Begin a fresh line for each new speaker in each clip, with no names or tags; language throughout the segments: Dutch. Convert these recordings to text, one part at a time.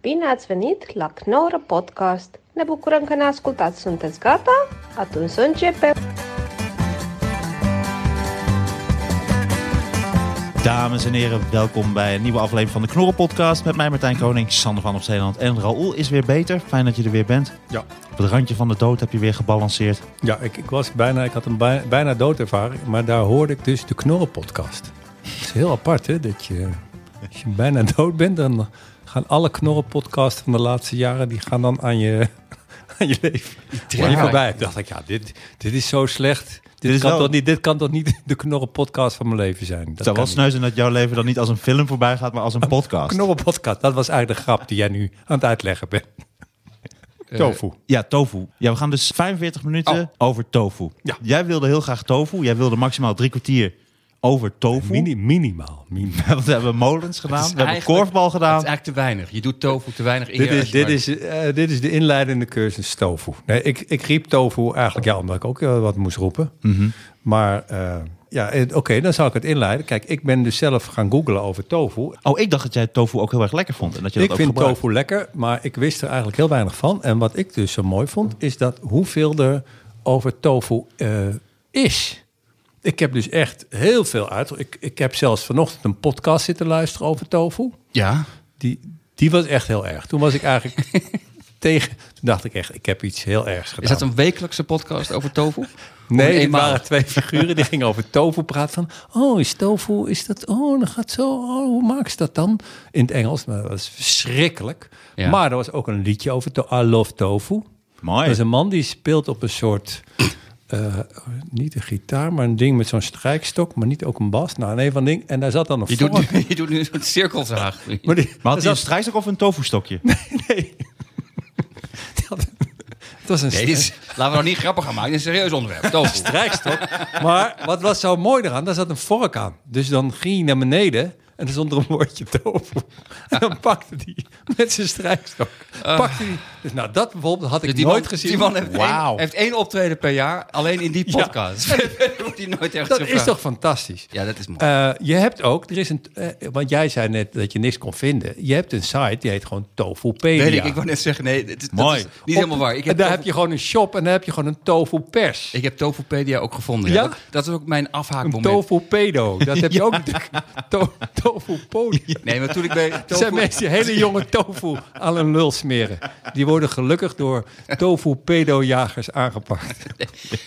Bine ați venit la Knorr Podcast! Ne bucurăm că ne ascultați! Sunteți gata? Atunci să începem!
Dames en heren, welkom bij een nieuwe aflevering van de Knorren Podcast. Met mij Martijn Koning, Sander van op Zeeland en Raoul is weer beter. Fijn dat je er weer bent.
Ja,
Op het randje van de dood heb je weer gebalanceerd.
ja ik, ik, was bijna, ik had een bij- bijna doodervaring, maar daar hoorde ik dus de knorrenpodcast. Het is heel apart, hè? Dat je, als je bijna dood bent, dan gaan alle knorrenpodcasts van de laatste jaren... die gaan dan aan je, aan je leven, aan je
Wauw.
voorbij. Toen dacht ik, ja, dit, dit is zo slecht. Dit,
is
kan
wel-
toch niet, dit kan toch niet de knorrenpodcast van mijn leven zijn? Dat
Het zou wel
kan niet.
sneu zijn dat jouw leven dan niet als een film voorbij gaat, maar als een podcast.
nou- Knorrenpodcast, dat was eigenlijk de grap die jij nu aan het uitleggen bent. Tofu.
Eh, Ja, tofu. Ja, we gaan dus 45 minuten
Oh.
over tofu.
Ja.
Jij wilde heel graag tofu. Jij wilde maximaal drie kwartier over tofu.
Mini, minimaal. minimaal.
Want we hebben molens gedaan,
Het is
we hebben
eigenlijk-
korfbal
Het
gedaan.
is eigenlijk te weinig. Je doet tofu te weinig eer.
Dit
als
is,
je
dit,
maar-
is, eh, dit is de inleidende cursus tofu. Nee, ik, ik riep tofu eigenlijk, ja, omdat ik ook eh, wat moest roepen.
Mhm.
Maar eh, ja, eh, oké, dan zal ik het inleiden. Kijk, ik ben dus zelf gaan googlen over tofu.
Oh, ik dacht dat jij tofu ook heel erg lekker vond. En dat je dat
Ik
ook
vind
gebruikt.
tofu lekker, maar ik wist er eigenlijk heel weinig van. En wat ik dus zo mooi vond, is dat hoeveel er over tofu eh, is. Ik heb dus echt heel veel uit. Ik, ik heb zelfs vanochtend een podcast zitten luisteren over tofu.
Ja.
Die, die was echt heel erg. Toen was ik eigenlijk tegen. Toen dacht ik echt, ik heb iets heel ergs gedaan.
Is dat een wekelijkse podcast over tofu?
nee, het
eenmaal?
waren twee figuren die gingen over tofu praten. Van, oh, is tofu, is dat, oh, dat gaat zo, oh, hoe maak ze dat dan? In het Engels, maar dat was verschrikkelijk.
Ja.
Maar er was ook een liedje over to I Love Tofu.
Mooi.
Dat is een man die speelt op een soort, eh, niet een gitaar, maar een ding met zo'n strijkstok, maar niet ook een bas. Nou, een van ding. En daar zat dan een
Je doet,
vork.
nu, je doet nu een soort cirkelzaag.
Maar,
Maar
die,
had
daar
hij
zat-
een strijkstok of een tofu-stokje?
het was een
Nee, dit is, laten we nou niet grappig gaan maken. Dit is een serieus onderwerp. Tofu.
strijkstok. Maar wat was zo mooi eraan? Daar zat een vork aan. Dus dan ging hij naar beneden en er stond er een woordje tofu. En dan pakte hij met zijn strijkstok. Pakte die. Dus nou, dat bijvoorbeeld had ik
Ah. Dus die
nooit
man,
gezien.
Die man heeft,
Wauw.
één, heeft één optreden per jaar, alleen in die
Ja.
podcast. Verder wordt hij nooit echt
dat
gevraagd.
is toch fantastisch?
Ja, dat is mooi.
Eh, je hebt ook, er is een, eh, want jij zei net dat je niks kon vinden. Je hebt een site die heet gewoon Tofupedia.
Eh, Weet ik, ik wou net zeggen, nee, dit is,
Mooi.
dat is niet helemaal waar. Ik
en
heb,
daar
tofu,
heb je gewoon een shop en daar heb je gewoon een tofu pers.
ik heb Tofupedia ook gevonden.
Ja?
Ja? Dat, dat is ook mijn
een
afhaakmoment.
tofu pedo. Dat heb je ook natuurlijk. To, tofu podium.
Nee, maar toen ik bij
Er zijn
tofu,
mensen die hele jonge tofu aan een lul smeren. Die worden gelukkig door tofu-pedo-jagers aangepakt.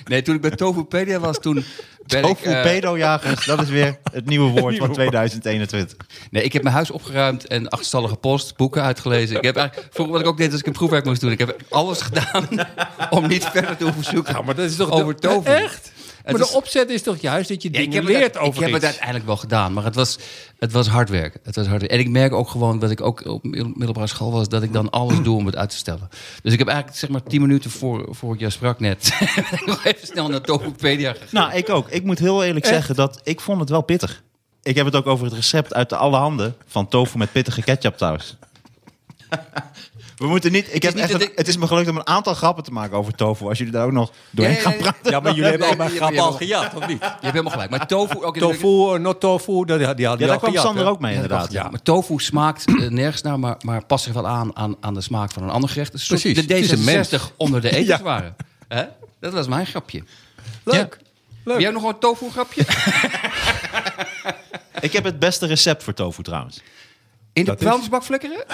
nee, toen ik bij Tofupedia was, toen ben ik... eh,
Tofu-pedojagers, dat is weer het nieuwe woord van 2021.
Nee, ik heb mijn huis opgeruimd en achterstallige post, boeken uitgelezen. Ik heb eigenlijk, vroeger wat ik ook deed als ik een proefwerk moest doen, ik heb alles gedaan om niet verder te hoeven zoeken.
Nou, maar dat is toch
Over tofu.
Echt? maar
is-
de opzet is toch juist dat je
Ja,
dingen
heb het
leert
uit-
over
Ik heb het
iets?
uiteindelijk wel gedaan, maar het was, het was hard werk. Het was hard werk. En ik merk ook gewoon dat ik ook op middel- middelbare school was, dat ik dan alles doe om het uit te stellen. Dus ik heb eigenlijk zeg maar tien minuten voor, voor ik jou sprak net, nog even snel naar Tokopedia gegaan.
Nou, ik ook. Ik moet heel eerlijk zeggen dat ik vond het wel pittig. Ik heb het ook over het recept uit de alle handen van tofu met pittige ketchupsaus. We moeten niet. Ik heb
niet
echt
dat
een-
ik-
het is me gelukt om een aantal grappen te maken over tofu. Als jullie daar ook nog doorheen
Ja, ja,
gaan
ja.
praten.
Ja, maar jullie hebben
Nee,
al mijn
je-
grap
je-
al gejat, of niet?
Je hebt helemaal gelijk. Maar tofu ook in
Tofu, eh, not tofu, dat- die had die al
Ja, daar kwam
gejat,
Sander
hè?
ook mee, inderdaad.
Ja.
Ah, Maar tofu smaakt eh, nergens naar, maar, maar past zich wel aan, aan aan de smaak van een ander gerecht. Een soort
Precies, het is een
De D66 onder de etens
Ja.
waren. Hè? Dat was mijn grapje.
Leuk.
Heb jij nog een tofu grapje?
Ik heb het beste recept voor tofu trouwens.
In de
Dat is-
vuilnisbak flikkeren?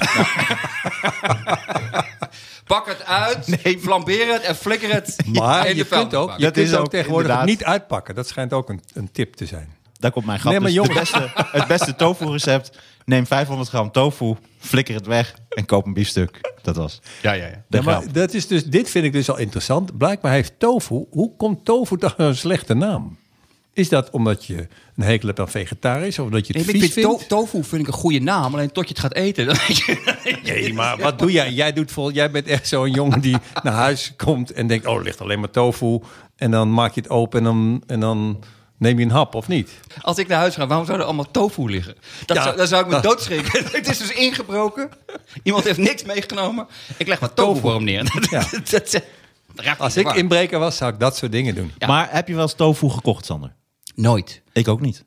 Pak het uit, flambeer het en flikker het
Maar
in
je kunt
de vuilnisbak.
ook, je
Dat
kunt
is
ook
ook
tegenwoordig
inderdaad-
niet uitpakken. Dat schijnt ook een, een tip te zijn.
Daar komt mijn grap.
Nee, maar
dus het,
jongens.
beste, het beste tofu recept. Neem 500 gram tofu, flikker het weg en koop een biefstuk. Dat was.
Ja, ja, ja.
De
Ja, maar
grap.
dat is dus, dit vind ik dus al interessant. Blijkbaar heeft tofu, hoe komt tofu dan een slechte naam? Is dat omdat je een hekel hebt aan vegetarisch? Of dat je
Nee,
het
maar ik
vies
vind to-
vindt?
tofu vind ik een goede naam, alleen tot je het gaat eten. dan weet je-
Nee, maar wat doe jij? Jij, doet vol, jij bent echt zo'n jongen die naar huis komt en denkt... oh, er ligt alleen maar tofu. En dan maak je het open en dan, en dan neem je een hap, of niet?
Als ik naar huis ga, waarom zou er allemaal tofu liggen? Dat
Ja,
zou, dan zou ik me
dat-
doodschrikken. Het is dus ingebroken. Iemand heeft niks meegenomen. Ik leg wat tofu
Tofu.
voor hem neer.
Ja.
dat, dat, dat raakt
Als
niet
ik
waar.
inbreker was, zou ik dat soort dingen doen.
Ja.
Maar heb je wel eens tofu gekocht, Sander?
Nooit.
Ik ook niet.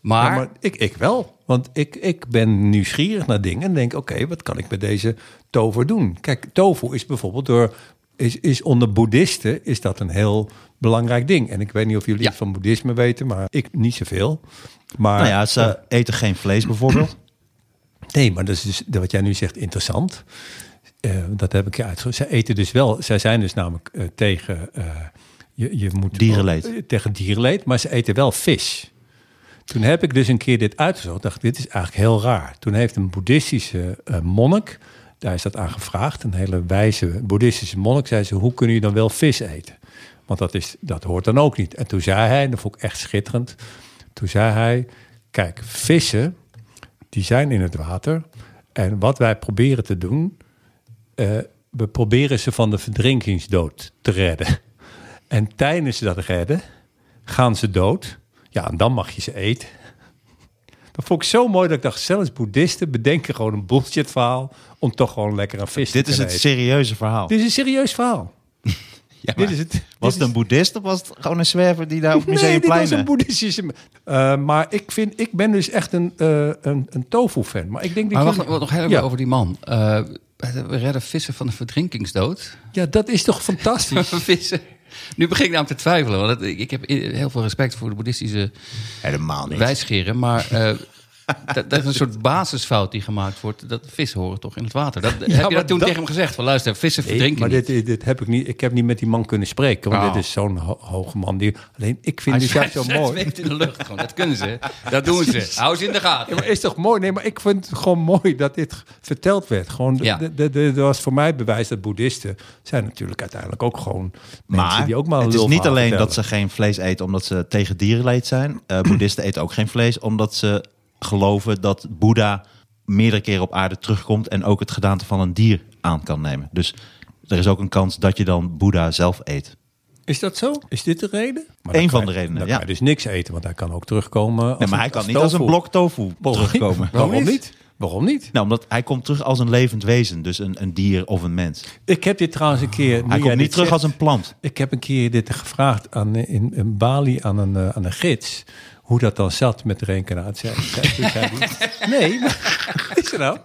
Maar,
Ja, maar ik, ik wel. Want ik, ik ben nieuwsgierig naar dingen en denk, oké, wat kan ik met deze tover doen? Kijk, tofu is bijvoorbeeld door, is, is onder boeddhisten is dat een heel belangrijk ding. En ik weet niet of jullie
Ja.
iets van boeddhisme weten, maar ik niet zoveel. Maar,
Nou ja, ze eten geen vlees bijvoorbeeld.
Nee, maar dat is dus wat jij nu zegt interessant. Eh, dat heb ik je uitgezocht. Zij eten dus wel, zij zijn dus namelijk eh, tegen eh, je, je moet
Dierenleed.
eh, tegen dierenleed, maar ze eten wel vis. Toen heb ik dus een keer dit uitgezocht. Dacht, dit is eigenlijk heel raar. Toen heeft een boeddhistische eh, monnik, daar is dat aan gevraagd, een hele wijze boeddhistische monnik, zei ze: hoe kunnen jullie dan wel vis eten? Want dat, is, dat hoort dan ook niet. En toen zei hij, en dat vond ik echt schitterend. Toen zei hij: kijk, vissen die zijn in het water. En wat wij proberen te doen, eh, we proberen ze van de verdrinkingsdood te redden. En tijdens dat redden gaan ze dood. Ja, en dan mag je ze eten. Dat vond ik zo mooi dat ik dacht, zelfs boeddhisten bedenken gewoon een bullshit verhaal om toch gewoon lekker een vis
Dit
te
is
kunnen
het
eten.
serieuze verhaal.
Dit is een serieus verhaal.
maar
dit is het.
Was
dit
het een boeddhist of was het gewoon een zwerver die daar op
nee, dit
museumplein...
was een boeddhistische... Eh, maar ik, vind, ik ben dus echt een, eh, een, een tofu-fan. Maar ik denk dat
maar wacht,
jullie-
wacht nog heel even
Ja.
over die man. Eh, we redden vissen van de verdrinkingsdood.
Ja, dat is toch fantastisch?
vissen. Nu begin ik namelijk te twijfelen. Want dat- ik, ik heb i- heel veel respect voor de boeddhistische
Helemaal niet.
wijsgeren. Maar eh, dat, dat is een soort basisfout die gemaakt wordt. Dat vissen horen toch in het water. Dat, heb
maar
je dat toen
dat-
tegen hem gezegd? Van luister, vissen
Nee,
verdrinken
maar
niet.
dit, dit heb ik niet. Ik heb niet met die man kunnen spreken. Want
Oh.
dit is zo'n ho- hoge man. Die, alleen ik vind dit juist zo
Hij
mooi.
zweeft in de lucht gewoon. Dat kunnen ze. Dat doen ze. Hou ze in de
Ja,
gaten.
maar is toch mooi? Nee, maar ik vind het gewoon mooi dat dit g- verteld werd. Gewoon,
Ja.
de- de- de- dat was voor mij bewijs dat boeddhisten zijn natuurlijk uiteindelijk ook gewoon mensen
Maar
die ook maar een
het is
lulverhaal
niet alleen
vertellen.
dat ze geen vlees eten omdat ze tegen dierenleed zijn. Eh, boeddhisten eten ook geen vlees omdat ze geloven dat Boeddha meerdere keren op aarde terugkomt en ook het gedaante van een dier aan kan nemen. Dus er is ook een kans dat je dan Boeddha zelf eet.
Is dat zo? Is dit de reden? Maar
Eén
dan
van
kan
de
je-
redenen,
Dan
ja.
kan je dus niks eten, want hij kan ook terugkomen.
Nee,
als
maar
een-
hij kan niet als een
tofu.
blok tofu terugkomen.
Waarom niet? Waarom niet?
Nou, omdat hij komt terug als een levend wezen, dus een, een dier of een mens.
Ik heb dit trouwens een keer.
Hij
nu jij
komt niet
dit
terug
zegt-
als een plant.
Ik heb een keer dit gevraagd aan, eh, in, in Bali aan een, eh, aan een gids. Hoe dat dan zat met de reïncarnatie. Hij zei- toen zei hij, nee, maar- is er nou?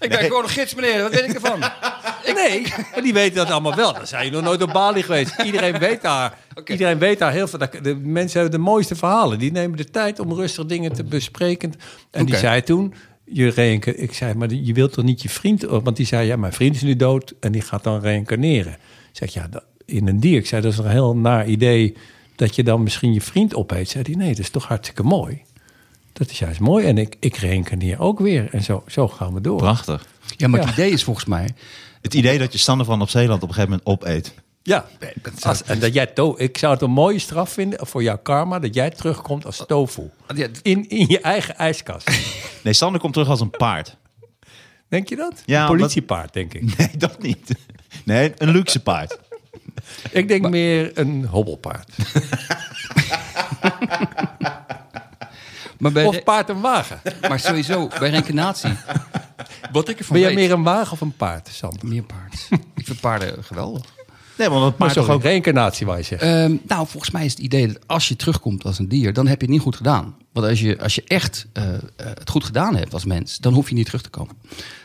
Ik ben gewoon een gids, meneer. Wat weet ik ervan?
Nee, maar die weten dat allemaal wel. Dan zijn je nog nooit op Bali geweest. Iedereen weet daar, iedereen weet daar heel veel. Dat- De mensen hebben de mooiste verhalen. Die nemen de tijd om rustig dingen te bespreken. En die
Oké.
zei toen, je reïnca- ik zei, maar je wilt toch niet je vriend... Want die zei, ja, mijn vriend is nu dood en die gaat dan reïncarneren. Ik zeg, ja, dat- in een dier. Ik zei, dat is een heel naar idee dat je dan misschien je vriend opeet. Zei hij, nee, dat is toch hartstikke mooi. Dat is juist mooi. En ik, ik reïncarneer ook weer. En zo, zo gaan we door.
Prachtig.
Ja, maar het
Ja.
idee is volgens mij...
Het idee dat je Sander van op Zeeland op een gegeven moment opeet.
Ja, als, en dat jij to, ik zou het een mooie straf vinden voor jouw karma dat jij terugkomt als tofu.
Ja,
In, in je eigen ijskast.
Nee, Sander komt terug als een paard.
Denk je dat?
Ja,
een
omdat-
politiepaard, denk ik.
Nee, dat niet. Nee, een luxe paard.
Ik denk meer een hobbelpaard.
maar, bij
Of paard en wagen.
maar sowieso, bij reïncarnatie... Wat ik ervan
Ben jij
weet...
meer een wagen of een paard, Sander?
Meer paard. ik vind paarden geweldig.
Nee, want een
Maar
paard
zo
toch
geen
ook...
reïncarnatie, waar je zegt.
Ehm, nou, volgens mij is het idee dat als je terugkomt als een dier... dan heb je het niet goed gedaan. Want als je, als je echt eh, eh, het goed gedaan hebt als mens... dan hoef je niet terug te komen.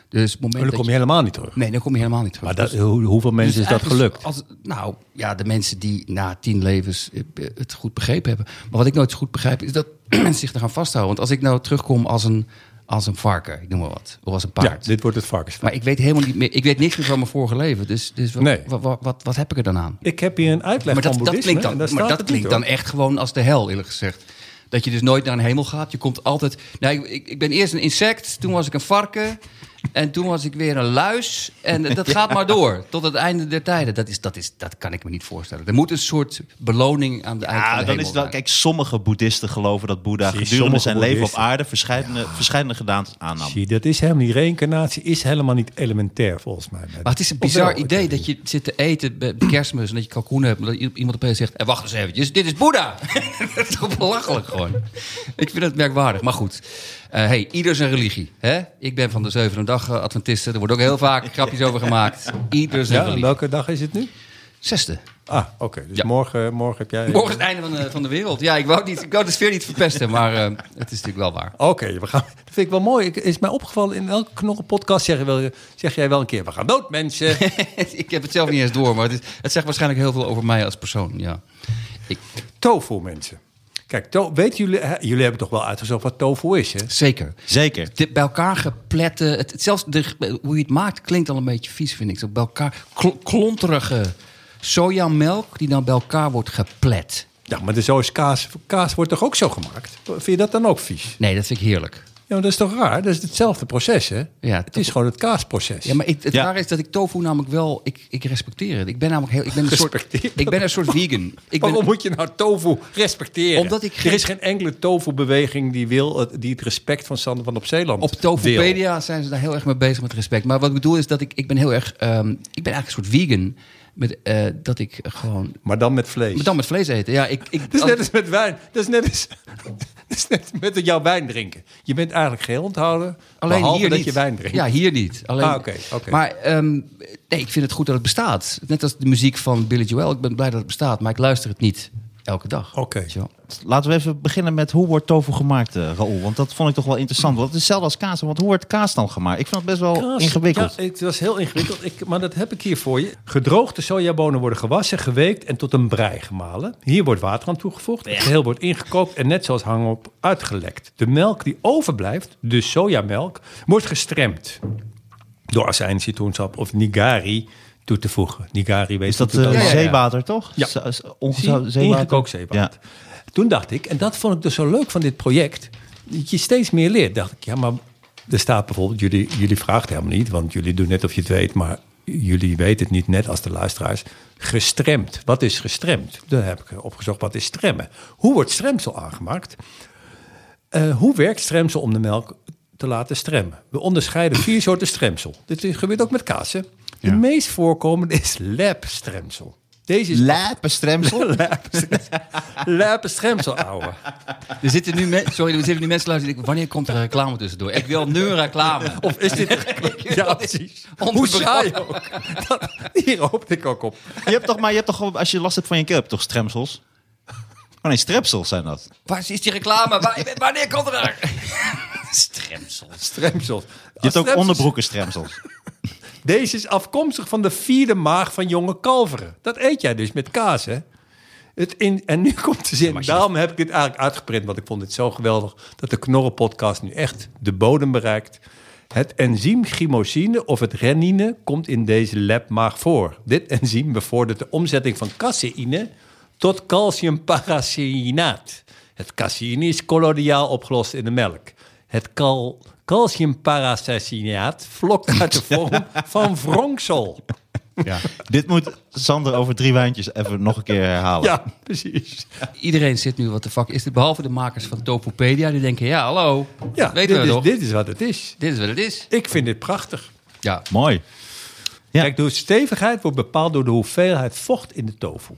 Dus het moment
dan
dat
kom je
je-
helemaal niet terug.
Nee, dan kom je helemaal niet terug.
Maar dat, hoe- hoeveel mensen
Dus
is dat
eigenlijk
gelukt?
Als, nou, ja, de mensen die na tien levens eh, eh, het goed begrepen hebben. Maar wat ik nooit zo goed begrijp, is dat mensen zich eraan vasthouden. Want als ik nou terugkom als een, als een varken, ik noem maar wat, of als een
Ja,
paard.
dit wordt het varkenspaard.
maar ik weet helemaal niet meer, ik weet niks meer van mijn vorige leven. Dus, dus wat,
Nee.
wat, wat, wat, wat heb ik er dan aan?
Ik heb hier een uitleg
Maar dat,
van
dat
boeddhisme.
klinkt dan,
en daar
maar
staat
dat
het
klinkt
niet, hoor.
dan echt gewoon als de hel, eerlijk gezegd. Dat je dus nooit naar een hemel gaat. Je komt altijd. Nou, ik- ik, ik ben eerst een insect, toen was ik een varken. En toen was ik weer een luis. En dat gaat maar door. Tot het einde der tijden. Dat, is, dat, is, dat kan ik me niet voorstellen. Er moet een soort beloning aan de eind van
Ja,
de
dan
hemel
is het wel...
zijn.
Kijk, sommige boeddhisten geloven dat Boeddha
Precies,
gedurende zijn
sommige
leven op
boeddhisten.
aarde verschillende, verschillende gedaantes aannam.
Zie, je, dat is helemaal niet. Reïncarnatie is helemaal niet elementair, volgens mij.
Maar het is een
Of wel,
bizar
ik weet
idee
het
dat je zit te eten bij bij kerstmis... en dat je kalkoen hebt en dat i- iemand opeens zegt... "Eh, wacht eens eventjes, dit is Boeddha. dat is toch belachelijk gewoon. Ik vind het merkwaardig, maar goed. Eh hey, ieder zijn religie. Hè? Ik ben van de Zevende Dag eh, Adventisten. Er wordt ook heel vaak grapjes over gemaakt. Ieder zijn
Ja, en
religie.
welke dag is het nu?
Zesde.
Ah, oké. dus
Ja.
morgen, morgen heb jij...
Morgen is het einde van de, van de wereld. Ja, ik wou, niet, ik wou de sfeer niet verpesten, maar eh, het is natuurlijk wel waar.
Oké, we gaan. Dat vind ik wel mooi. Ik, is mij opgevallen in elke knorrenpodcast zeg, je wel, zeg jij wel een keer: we gaan dood, mensen.
ik heb het zelf niet eens door, maar het, is- het zegt waarschijnlijk heel veel over mij als persoon. Ja. Ik,
tofu, mensen. Kijk, to, weten jullie, hè, jullie hebben toch wel uitgezocht wat tofu is, hè?
zeker.
Zeker.
De, bij elkaar gepletten. Het, het- zelfs de, hoe je het maakt klinkt al een beetje vies, vind ik. Zo bij elkaar kl- klonterige sojamelk die dan bij elkaar wordt geplet.
Ja, maar de zoos kaas, kaas wordt toch ook zo gemaakt? Vind je dat dan ook vies?
Nee, dat vind ik heerlijk.
Ja, maar dat is toch raar? Dat is hetzelfde proces, hè?
Ja,
het is
toch-
gewoon het kaasproces.
Ja, maar ik, het
Ja.
waar is dat ik tofu namelijk wel... Ik, ik respecteer het. Ik ben namelijk heel... Ik ben een soort,
Respecteer
ik ben een soort vegan. Ik ben,
Waarom moet je nou tofu respecteren?
Omdat ik geen-
Er is geen enkele tofu-beweging die, wil het- die het respect van Sander van op Zeeland
Op
deelt.
Tofupedia zijn ze daar heel erg mee bezig met respect. Maar wat ik bedoel is dat ik, ik ben heel erg... ehm, ik ben eigenlijk een soort vegan. Met, eh, dat ik gewoon...
Maar dan met vlees.
Maar dan met vlees eten. Ja, ik, ik,
Dat is
als-
net als met wijn. Dat is net als, dat is net als met jouw wijn drinken. Je bent eigenlijk geheel onthouden.
alleen
behalve
hier
dat
niet.
je wijn drinkt.
Ja, hier niet. Alleen,
Ah, oké, oké.
Maar ehm, nee, ik vind het goed dat het bestaat. Net als de muziek van Billy Joel. Ik ben blij dat het bestaat, maar ik luister het niet elke dag.
Oké.
Weet je wel.
Laten we even beginnen met hoe wordt tofu gemaakt, eh Raoul? Want dat vond ik toch wel interessant. Want het is hetzelfde als kaas. Want hoe wordt kaas dan gemaakt? Ik vind het best wel
Kaas.
ingewikkeld.
Ja, het was heel ingewikkeld, ik, maar dat heb ik hier voor je. Gedroogde sojabonen worden gewassen, geweekt en tot een brei gemalen. Hier wordt water aan toegevoegd, het geheel wordt ingekookt en net zoals hangop uitgelekt. De melk die overblijft, de sojamelk, wordt gestremd. Door azijn, citroensap of nigari toe te voegen. Nigari weet
Is dat
je
eh,
natuurlijk allemaal.
zeewater, toch?
Ja.
Z- z-
Zie,
Ongezout zeewater.
ingekookt zeewater. Toen dacht ik, en dat vond ik dus zo leuk van dit project, dat je steeds meer leert. Dacht ik, ja, maar er staat bijvoorbeeld, jullie, jullie vragen het helemaal niet, want jullie doen net of je het weet, maar jullie weten het niet, net als de luisteraars. Gestremd. Wat is gestremd? Daar heb ik opgezocht, wat is stremmen? Hoe wordt stremsel aangemaakt? Eh, hoe werkt stremsel om de melk te laten stremmen? We onderscheiden vier soorten stremsel. Dit is- gebeurt ook met kazen. De meest voorkomende is lapstremsel. Deze is
Lijpenstremsel.
Lijpenstremsel, ouwe.
Er zitten nu, men- Sorry, er zitten nu mensen luisteren die denken... wanneer komt er een reclame tussendoor? Ik wil nu een reclame.
Of is dit... Ja, precies. Hoe saai ook. Dat, hier hoopte ik ook op.
Je hebt toch, maar je hebt toch, als je last hebt van je keel, heb je toch stremsels? Oh nee, strepsels zijn dat.
Waar is die reclame? Waar- wanneer komt er een... Stremsels.
Stremsels.
Je hebt ook onderbroekenstremsels.
Deze is afkomstig van de vierde maag van jonge kalveren. Dat eet jij dus met kaas, hè? Het in, en nu komt de zin. Daarom heb ik dit eigenlijk uitgeprint, want ik vond het zo geweldig dat de Knorren-podcast nu echt de bodem bereikt. Het enzym chymosine of het renine komt in deze labmaag voor. Dit enzym bevordert de omzetting van caseïne tot calciumparaceinaat. Het caseïne is coloniaal opgelost in de melk. Het cal calciumparaceinaat vlokt uit de vorm van wrongsel.
Ja. Dit moet Sander over drie wijntjes even nog een keer herhalen.
Ja, precies.
Iedereen zit nu, wat de fuck is dit? Behalve de makers van Topopedia. Die denken, ja, hallo.
Ja,
weten
dit,
we
is,
toch? Dit...
dit is wat het is.
is wat het is.
Ik vind dit prachtig.
Ja.
Mooi. Ja.
Kijk, de stevigheid wordt bepaald door de hoeveelheid vocht in de tofu.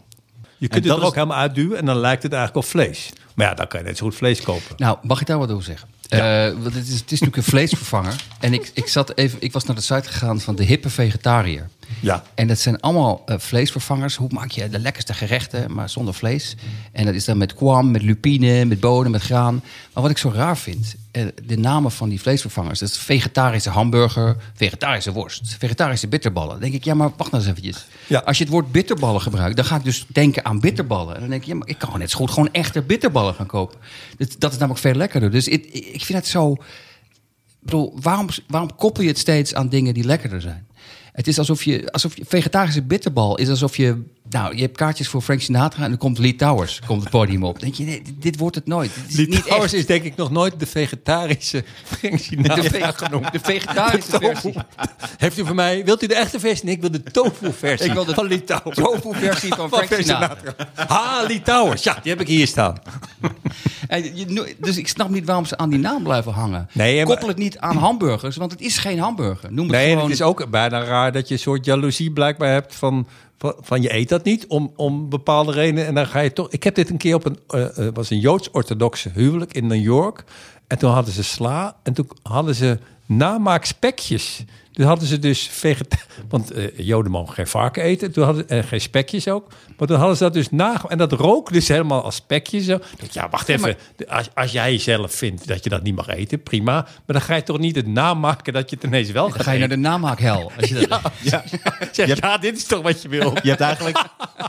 Je kunt het
dat
er
is-
ook helemaal uitduwen en dan lijkt het eigenlijk op vlees. Maar ja, dan kan je net zo goed vlees kopen.
Nou, mag ik daar wat over zeggen? Eh, want het, is, het is natuurlijk een vleesvervanger. En ik, ik, zat even, ik was naar de site gegaan van de hippe vegetariër.
Ja.
En dat zijn allemaal eh, vleesvervangers. Hoe maak je de lekkerste gerechten, maar zonder vlees? En dat is dan met kwam, met lupine, met bonen, met graan. Maar wat ik zo raar vind, eh, de namen van die vleesvervangers... dat is vegetarische hamburger, vegetarische worst, vegetarische bitterballen. Dan denk ik, ja, maar wacht nou eens eventjes.
Ja.
Als je het woord bitterballen gebruikt, dan ga ik dus denken aan bitterballen. En dan denk ik, ja, maar ik kan gewoon net zo goed gewoon echte bitterballen gaan kopen. Dat, dat is namelijk veel lekkerder. Dus ik- ik vind het zo... Ik bedoel, waarom, waarom koppel je het steeds aan dingen die lekkerder zijn? Het is alsof je, alsof je vegetarische bitterbal is alsof je, nou, je hebt kaartjes voor Frank Sinatra en dan komt Lee Towers, komt het podium op. Denk je, nee, dit, dit wordt het nooit. Dit is
Die
niet
trouwens
echt.
is denk ik nog nooit de vegetarische Frank
de,
Sinatra
ve-
genoemd.
de vegetarische versie.
Heeft u voor mij, wilt u de echte versie? Nee, ik wil de tofu-versie
Ik wil de
van Lee Towers.
tofu-versie van Frank Sinatra.
Ha, Lee Towers. Ja, die heb ik hier staan.
En je, no- dus ik snap niet waarom ze aan die naam blijven hangen.
Nee, maar-
Koppel het niet aan hamburgers, want het is geen hamburger. Noem het
Nee, en
gewoon...
het is ook bijna raar dat je een soort jaloezie blijkbaar hebt van, van, van je eet dat niet om, om bepaalde redenen. En dan ga je toch... Ik heb dit een keer op een, eh, eh, was een Joods-orthodoxe huwelijk in New York. En toen hadden ze sla en toen hadden ze namaakspekjes. Toen hadden ze dus vegeta- Want eh, Joden mogen geen varken eten. Toen hadden, en geen spekjes ook. Maar toen hadden ze dat dus na. En dat rook dus helemaal als spekjes. Zo. Ja, wacht even. als, als jij zelf vindt dat je dat niet mag eten, prima. Maar dan ga je toch niet het namaken dat je het ineens wel
Dan
gaat
ga je naar
eten.
de namaakhel. Als je dat,
Ja.
Zeg, ja, dit is toch wat je wil.
Je hebt eigenlijk een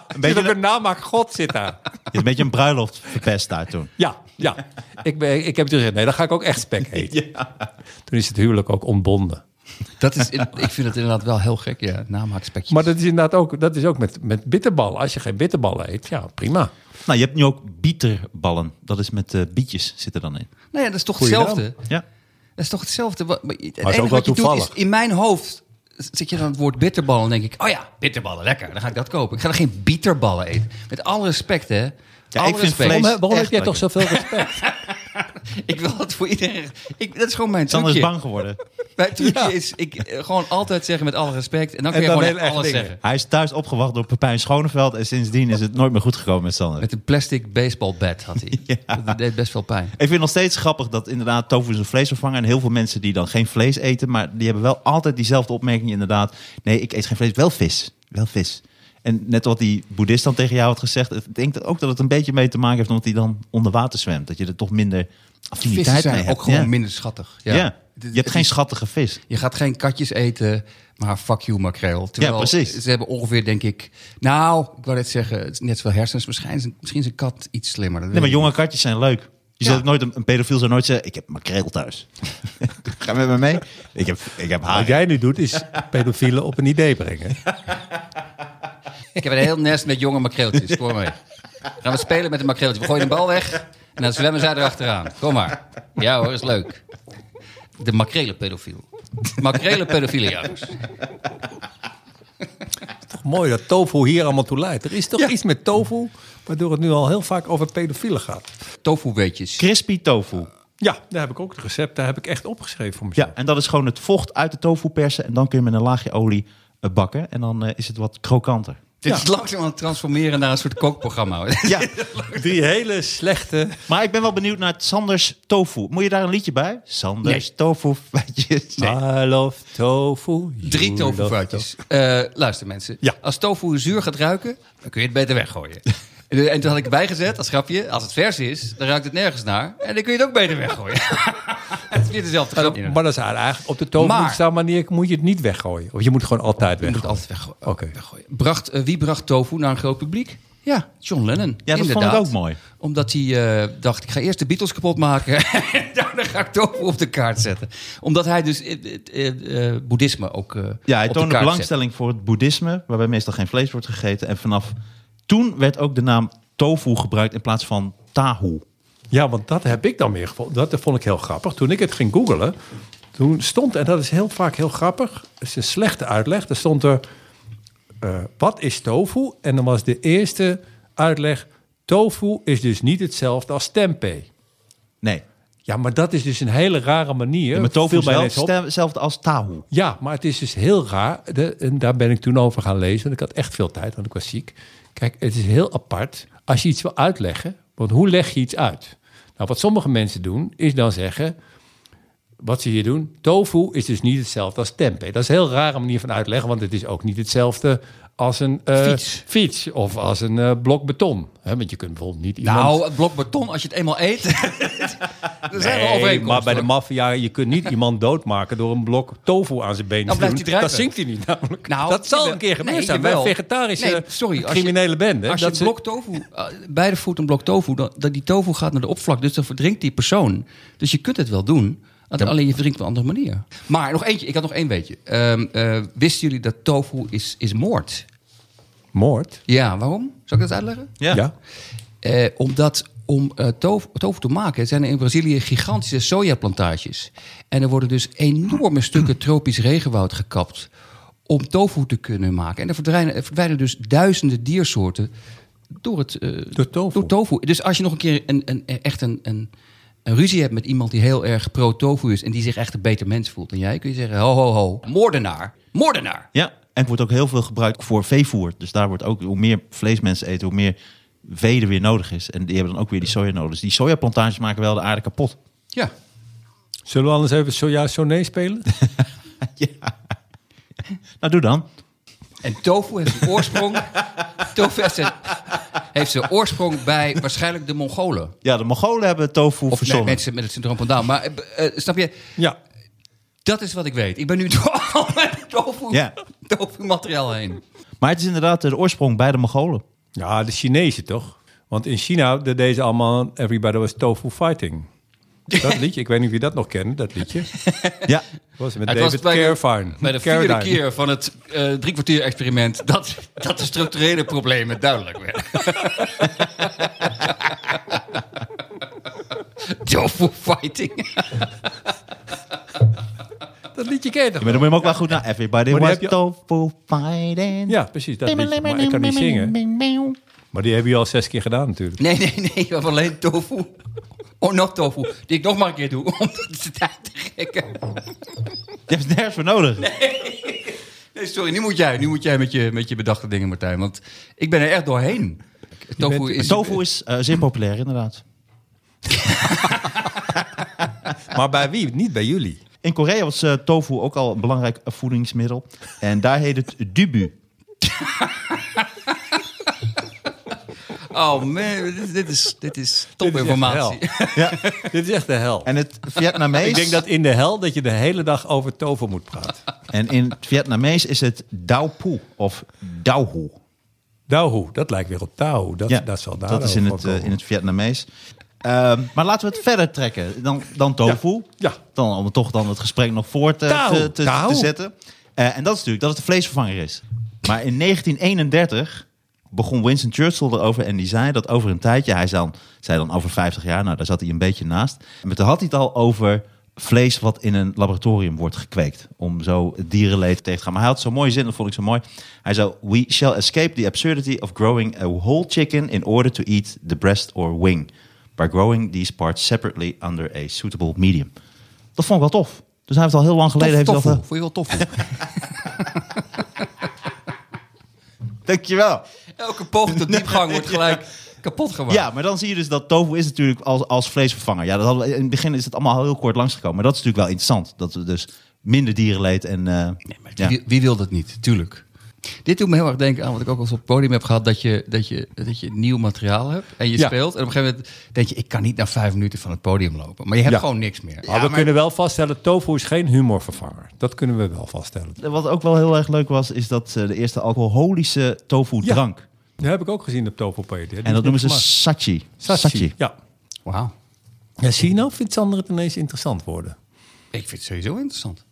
Beetje
beetje,
ook een namaak God zit daar.
je hebt een, beetje een bruiloft verpest daar toen.
Ja, ja. Ik, ben, ik heb toen gezegd, nee, dan ga ik ook echt spek eten. Toen is het huwelijk ook ontbonden.
dat is, ik vind het inderdaad wel heel gek, ja. Namaakspekjes.
Maar dat is inderdaad ook, dat is ook met, met bitterballen. Als je geen bitterballen eet, ja, prima.
Nou, je hebt nu ook bieterballen. Dat is toch eh, bietjes zit er dan in.
nou ja, dat is toch
Goeie
hetzelfde.
naam.
Ja.
Dat is toch hetzelfde. Wa- maar Het
ook
enige
wel
wat je doet is,
toevallig.
in mijn hoofd zit je dan het woord bitterballen en denk ik... oh ja, bitterballen, lekker, dan ga ik dat kopen. Ik ga er geen bitterballen eten. Met alle respect, hè. alle
ik vind
respect.
vlees-
Waarom, waarom heb
echt
jij toch zoveel respect?
Ik wil het voor iedereen... Ik, dat is gewoon mijn
Sander is
trucje.
bang geworden.
Mijn trucje
Ja.
is ik, eh, gewoon altijd zeggen met alle respect. En dan kun
En
je
dan
gewoon
heel erg
echt alles
dingen.
zeggen.
Hij is thuis opgewacht door Pepijn Schoneveld. En sindsdien is het nooit meer goed gekomen met Sander.
Met een plastic baseball bat had hij. Dat deed best veel pijn.
Ik vind het nog steeds grappig dat inderdaad tofu is een vleesvervanger. En heel veel mensen die dan geen vlees eten, maar die hebben wel altijd diezelfde opmerking inderdaad. Nee, ik eet geen vlees, wel vis. Wel vis. En net wat die boeddhist dan tegen jou had gezegd, ik denk dat ook dat het een beetje mee te maken heeft omdat hij dan onder water zwemt. Dat je er toch minder affiniteit
Vissen
mee
zijn
hebt.
ook gewoon
ja.
minder schattig.
Ja.
Ja.
Je hebt geen schattige vis.
Je gaat geen katjes eten, maar fuck you makreel. Terwijl
Ja, precies.
Ze hebben ongeveer, denk ik... Nou, ik wou net zeggen, het is net zoveel hersens. Misschien, is een- misschien is een kat iets slimmer. Dat
Nee, maar
weet ik
jonge katjes zijn leuk. Je
Ja.
zult nooit, een een pedofiel zou nooit zeggen, ik heb makreel thuis. Ga met me mee? Ik heb, ik heb haar.
Wat jij nu doet, is pedofielen op een idee brengen.
niet. Ik heb een heel nest met jonge makreeltjes. Kom maar mee. Gaan we spelen met een makreeltje. We gooien de bal weg en dan zwemmen zij erachteraan. Kom maar. Ja hoor, is leuk. De makrelenpedofiel. Makrelenpedofielen, ja.
Toch mooi dat tofu hier allemaal toe leidt. Er is toch
Ja.
iets met tofu, waardoor het nu al heel vaak over pedofielen gaat.
Tofu-weetjes.
Crispy tofu.
Ja, daar heb ik ook het recept, daar heb ik echt opgeschreven voor mezelf.
Ja, en dat is gewoon het vocht uit de tofu persen. En dan kun je met een laagje olie eh, bakken. En dan eh, is het wat krokanter.
Dit
Ja.
is langzaam aan het transformeren naar een soort kookprogramma.
Ja,
Drie hele slechte...
maar ik ben wel benieuwd naar het Sanders tofu. Moet je daar een liedje bij? Sanders tofu feitjes.
I love tofu. you
Drie
love
tofu-fruitjes. Eh, luister mensen,
Ja.
als tofu zuur gaat ruiken, dan kun je het beter weggooien. En en toen had ik erbij gezet, als grapje, als het vers is, dan ruikt het nergens naar. En dan kun je het ook beter weggooien. het is weer dezelfde grap.
Maar dat is eigenlijk op de tofu
Maar-
staan manier moet je het niet weggooien. Of je moet het gewoon altijd
Je moet het
weggooien.
altijd weggooien.
Oké.
weggooien. Bracht, eh, wie bracht tofu naar een groot publiek? Ja, John Lennon.
Ja, dat
Inderdaad.
vond ik ook mooi.
Omdat hij eh, dacht, ik ga eerst de Beatles kapot maken. en daarna ga ik tofu op de kaart zetten. Omdat hij dus eh, eh, eh, eh, boeddhisme ook eh,
Ja, hij
op
toonde
de kaart zet.
belangstelling voor het boeddhisme. Waarbij meestal geen vlees wordt gegeten. En vanaf toen werd ook de naam tofu gebruikt in plaats van tahu.
Ja, want dat heb ik dan weer gevonden. Dat vond ik heel grappig. Toen ik het ging googelen, toen stond, en dat is heel vaak heel grappig, het is een slechte uitleg. Er stond er, eh, wat is tofu? En dan was de eerste uitleg, tofu is dus niet hetzelfde als tempeh.
Nee,
Ja, maar dat is dus een hele rare manier.
maar tofu
Eh, Viel
is
mij
wel
ineens op.
stem- hetzelfde als tahu.
Ja, maar het is dus heel raar. De- en daar ben ik toen over gaan lezen. Want ik had echt veel tijd, want ik was ziek. Kijk, het is heel apart als je iets wil uitleggen. Want hoe leg je iets uit? Nou, wat sommige mensen doen, is dan zeggen... Wat ze hier doen, tofu is dus niet hetzelfde als tempeh. Dat is een heel rare manier van uitleggen, want het is ook niet hetzelfde als een eh,
Fiets.
fiets of als een eh, blok beton. Hè, want je kunt bijvoorbeeld niet iemand...
Nou, het blok beton, als je het eenmaal eet. er zijn wel
Nee,
overeenkomsten.
maar bij de
hoor.
maffia, je kunt niet iemand doodmaken door een blok tofu aan zijn benen
Dan
te doen.
blijft hij
dat
drijven.
zinkt hij niet namelijk.
Nou,
dat zal
jawel.
een keer gebeurd
Nee,
zijn. Bij een
jawel.
vegetarische
Nee, sorry, als je-
criminele bende.
Als je
dat
een
ze-
blok tofu, eh, bij de voet een blok tofu, dan, dat die tofu gaat naar de oppervlak, dus dan verdrinkt die persoon. Dus je kunt het wel doen, alleen je verdrinkt op een andere manier. Maar nog eentje, ik had nog één weetje. Ehm, eh, wisten jullie dat tofu is, is moord?
Moord?
Ja, waarom? Zal ik dat uitleggen?
Ja.
Ja.
Eh, omdat om eh, tof- tofu te maken zijn er in Brazilië gigantische sojaplantages. En er worden dus enorme stukken tropisch regenwoud gekapt om tofu te kunnen maken. En er verdwijnen, er verdwijnen dus duizenden diersoorten door het eh,
Door tofu.
door tofu. Dus als je nog een keer een, een, echt een, een, een ruzie hebt met iemand die heel erg pro-tofu is... en die zich echt een beter mens voelt dan jij... kun je zeggen, ho, ho, ho, moordenaar, moordenaar.
Ja, en het wordt ook heel veel gebruikt voor veevoer. Dus daar wordt ook, hoe meer vlees mensen eten, hoe meer vee er weer nodig is. En die hebben dan ook weer die soja nodig. Dus die sojaplantages maken wel de aarde kapot.
Ja.
Zullen we anders even zo ja, zo nee spelen?
Nou, doe dan.
En tofu heeft zijn oorsprong. tofu heeft zijn, heeft zijn oorsprong bij waarschijnlijk de Mongolen.
Ja, de Mongolen hebben tofu
Of nee,
verzonnen.
mensen met het syndroom van Down. Maar eh, eh, snap je,
Ja.
dat is wat ik weet. Ik ben nu door al mijn tofu,
Ja.
tofu materiaal heen.
Maar het is inderdaad de oorsprong bij de Mongolen.
Ja, de Chinezen toch? Want in China deden deze allemaal Everybody Was Tofu Fighting. Dat liedje, ik weet niet of je dat nog kent, dat liedje.
Ja,
was met
Het was
David
bij de-
Caravane.
Bij de vierde
Carradine.
keer van het eh driekwartier experiment... Dat, dat de structurele problemen duidelijk werden. tofu fighting.
Dat liedje ken je toch?
maar dan moet je hem ook wel goed naar. Everybody
Maar die
was
heb je-
tofu fighting.
Ja, precies, dat liedje. Maar ik kan niet zingen. Maar die heb je al zes keer gedaan natuurlijk.
Nee, nee, nee. We hebben alleen tofu. Oh, nog tofu. Die ik nog maar een keer doe. Om de tijd te gekken.
Je hebt het nergens voor nodig.
Nee, sorry. Nu moet jij, nu moet jij met, je, met je bedachte dingen, Martijn. Want ik ben er echt doorheen. Tofu
bent-
is...
Tofu is eh, zeer populair, inderdaad.
Maar bij wie? Niet bij jullie.
In Korea was eh, tofu ook al een belangrijk voedingsmiddel. En daar heet het dubu.
Oh man, dit is, dit is,
Dit
dit is
is echt
topinformatie.
Ja.
Dit is echt de hel.
En het Vietnamees...
ik denk dat in de hel dat je de hele dag over tover moet praten.
En in het Vietnamees is het daupu of dauhu.
Dauhu, dat lijkt weer op Tao. Dat,
Ja,
dat zal daar
dat is in
wel
het,
van
eh,
komen.
in het Vietnamees. Ehm, maar laten we het verder trekken dan, dan tofu.
Ja.
Dan, om toch dan het gesprek nog voort eh,
Tau,
te, te,
tau.
te zetten. Eh, en dat is natuurlijk dat het een vleesvervanger is. Maar in 1931 begon Winston Churchill erover en die zei dat over een tijdje, hij zei dan, zei dan over 50 jaar, nou daar zat hij een beetje naast. Maar toen had hij het al over vlees wat in een laboratorium wordt gekweekt. Om zo het dierenleed tegen te gaan. Maar hij had zo'n mooie zin, dat vond ik zo mooi. Hij zei, we shall escape the absurdity of growing a whole chicken in order to eat the breast or wing. By growing these parts separately under a suitable medium. Dat vond ik wel tof. Dus hij heeft al heel lang geleden... heeft hij
tofu.
dat, eh,
Vond je wel tofu?
Dankjewel.
Elke poging tot diepgang wordt gelijk kapot gemaakt.
Ja, maar dan zie je dus dat tofu is natuurlijk als, als vleesvervanger. Ja, dat hadden we- in het begin is het allemaal heel kort langsgekomen. Maar dat is natuurlijk wel interessant. Dat we dus minder dierenleed en... eh, ja.
Wie, wie wil dat niet? Tuurlijk. Dit doet me heel erg denken aan wat ik ook al eens op het podium heb gehad. Dat je, dat je, dat je nieuw materiaal hebt en je
Ja.
speelt. En op een gegeven moment denk je, ik kan niet na vijf minuten van het podium lopen. Maar je hebt
Ja.
gewoon niks meer.
Maar we kunnen wel vaststellen, tofu is geen humorvervanger. Dat kunnen we wel vaststellen.
Wat ook wel heel erg leuk was, is dat eh, de eerste alcoholische tofu
Ja.
drank.
Dat heb ik ook gezien op toverpeet.
En dat noemen ze sachi.
Sachi. Ja.
Wauw.
ja, zie je nou vindt Sander het ineens interessant worden?
Ik vind het sowieso interessant.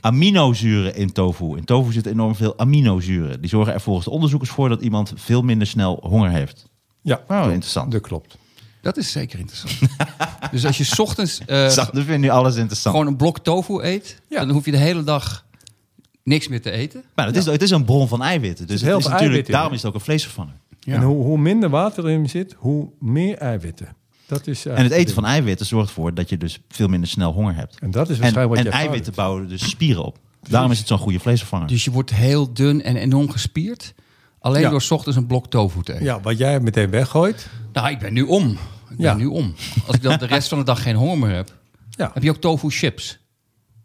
Aminozuren in tofu. In tofu zitten enorm veel aminozuren. Die zorgen er volgens de onderzoekers voor dat iemand veel minder snel honger heeft.
Ja,
Nou, interessant.
dat klopt.
Dat is zeker interessant. dus als je 's ochtends eh,
Zag, dat vind ik nu alles interessant.
gewoon een blok tofu eet,
Ja.
dan hoef je de hele dag niks meer te eten.
maar het is, het is een bron van eiwitten. Dus
heel
het is
veel
natuurlijk,
eiwitten,
daarom
ja.
is het ook een vleesvervanger.
Ja.
En hoe, hoe minder water erin zit, hoe meer eiwitten. Dat is eh,
En het eten van eiwitten zorgt ervoor dat je dus veel minder snel honger hebt.
En dat is
En,
waarschijnlijk
en
wat je ervaart.
eiwitten bouwen dus spieren op. Daarom is het zo'n goede vleesvervanger.
Dus je wordt heel dun en enorm gespierd. Alleen
Ja.
door 's ochtends een blok tofu te eten.
Ja, wat jij meteen weggooit.
Nou, ik ben nu om. Ik ben
Ja.
nu om. Als ik dan de rest van de dag geen honger meer heb.
Ja,
Heb je ook tofu chips?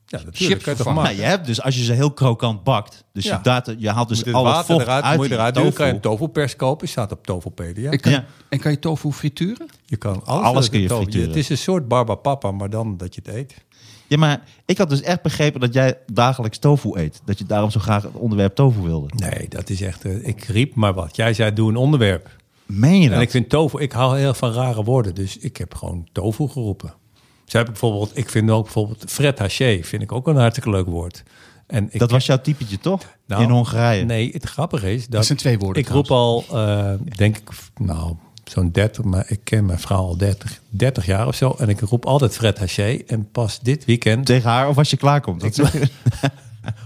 ja natuurlijk.
chips
kan je toch
vervangen.
Nou,
maken.
je hebt dus als je ze heel krokant bakt, dus
Ja.
je, daad- je haalt dus
Moet het
al het
water
vocht
eruit,
uit
moet je
die
eruit doen.
tofu.
Kan je een toverpers kopen, staat op toverpedia.
Ik kan,
Ja.
En kan je tofu frituren?
Je kan alles,
Alles
met
kun je
tofu-
frituren.
Het is een soort barbapapa, maar dan dat je het eet.
Ja, maar ik had dus echt begrepen dat jij dagelijks tofu eet. Dat je daarom zo graag het onderwerp tofu wilde.
Nee, dat is echt... eh, ik riep maar wat. Jij zei, doe een onderwerp.
Meen je dat?
En ik vind tofu... Ik hou heel van rare woorden, dus ik heb gewoon tofu geroepen. Zo heb ik bijvoorbeeld... Ik vind ook bijvoorbeeld... Fred haché vind ik ook een hartstikke leuk woord. En ik
dat was jouw typetje toch?
Nou,
In Hongarije.
Nee, het grappige is dat...
zijn twee woorden
Ik roep al, eh, denk ik, nou, zo'n 30, maar ik ken mijn vrouw al 30, 30 jaar of zo. En ik roep altijd Fred Haché. En pas dit weekend...
Tegen haar of als je klaarkomt. Dat is-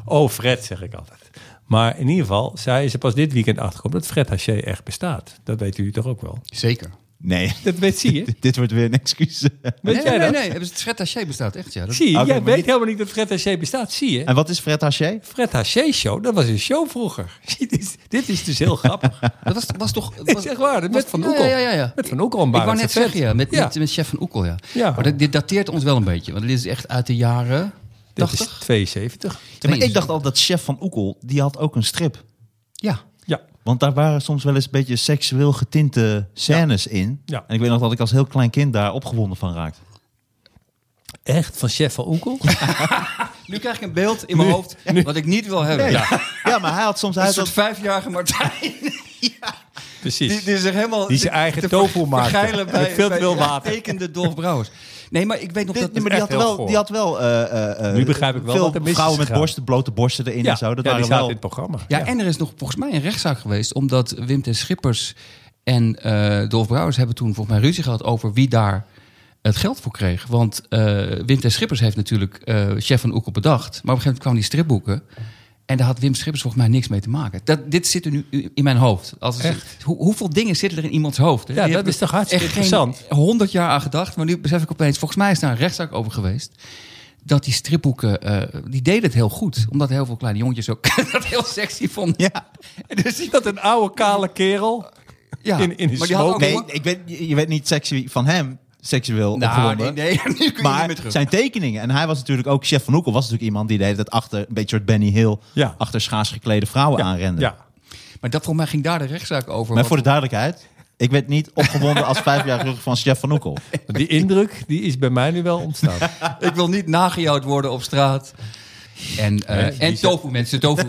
Oh, Fred, zeg ik altijd. Maar in ieder geval, zij is er pas dit weekend achtergekomen dat Fred Haché echt bestaat. Dat weten jullie toch ook wel?
Zeker.
Nee,
Dat weet, zie je.
dit wordt weer een excuus.
Weet
nee,
jij
nee,
dat?
nee, nee. Het Fred Haché bestaat echt, ja. Dat-
Zie je,
Oké,
jij
maar
weet
niet-
helemaal niet dat Fred Haché bestaat, zie je.
en wat is Fred Haché?
Fred Haché show, dat was een show vroeger. Zie, dit, is- dit is dus heel grappig.
Dat was, was toch...
Nee,
was-
zeg waar,
was-
met Van
ja,
Oekel.
Ja, ja, ja.
Met Van Oekel en
Ik wou
Barend
net
Servet.
zeggen, ja. Met,
Ja.
Met, met chef Van Oekel, ja.
Ja.
Maar dat, dit dateert ons wel een beetje. Want dit is echt uit de jaren...
Dit is
80?
72.
Ja, maar ik dacht al dat chef van Oekel, die had ook een strip.
Ja.
Ja,
Want daar waren soms wel eens een beetje seksueel getinte scènes in.
Ja.
En ik weet nog dat ik als heel klein kind daar opgewonden van raakte.
echt van Chef van Oekel.
Nu krijg ik een beeld in mijn hoofd wat ik niet wil hebben. Ja.
Ja, maar hij had soms... Hij
Een
had
soort
dat-
vijfjarige Martijn. Die,
Precies.
die zich helemaal...
Die zijn eigen tofu maakte.
vergeilen
Met veel te
bij-
veel
bij
water.
Tekende Dolf Brouwers. Nee, maar ik weet nog
dit-
dat...
nee, maar die,
echt
had
heel
wel,
goor.
die had wel... eh, eh, eh,
Nu begrijp ik wel
veel
wat er mis is
vrouwen met
gegaan.
borsten, blote borsten erin en zo. Dat
ja, die
waren
zaten
wel...
in het programma.
Ja, en er is nog volgens mij een rechtszaak geweest. Omdat Wim T. Schippers en eh Dolf Brouwers hebben toen volgens mij ruzie gehad over wie daar het geld voor kreeg. Want eh, Wim T. Schippers heeft natuurlijk eh, Chef van Oekel bedacht. Maar op een gegeven moment kwamen die stripboeken. En daar had Wim Schippers volgens mij niks mee te maken. Dat, dit zit er nu in mijn hoofd. Als, hoe- hoeveel dingen zitten er in iemands hoofd? hè?
Ja,
Die
dat
heb
is toch hartstikke
echt geen
interessant.
100 jaar aan gedacht, maar nu besef ik opeens... volgens mij is daar een rechtszaak over geweest... dat die stripboeken, eh, die deden het heel goed. Omdat heel veel kleine jongetjes ook dat heel sexy vonden.
Ja.
En Dus die-
Dat een oude kale kerel.
ja.
In- in een
maar die had ook...
Nee, ik weet, je weet niet sexy van hem seksueel
nou, nee,
opgewonden.
nee, nu kun je niet
Maar
meer terug.
zijn tekeningen. En hij was natuurlijk ook... Chef van Oekel was natuurlijk iemand die de hele tijd achter... Een beetje soort Benny Hill.
Ja.
Achter schaars geklede vrouwen
eh,
aanrende.
Ja.
Maar dat volgens mij ging daar de rechtszaak over.
Maar
want-
voor de duidelijkheid... Ik werd niet opgewonden als vijfjarige van Chef van Oekel.
Die indruk die is bij mij nu wel ontstaan.
Ik wil niet nagejouwd worden op straat. En, eh,
Nee, die
en
zijn-
tofu, mensen, tofu.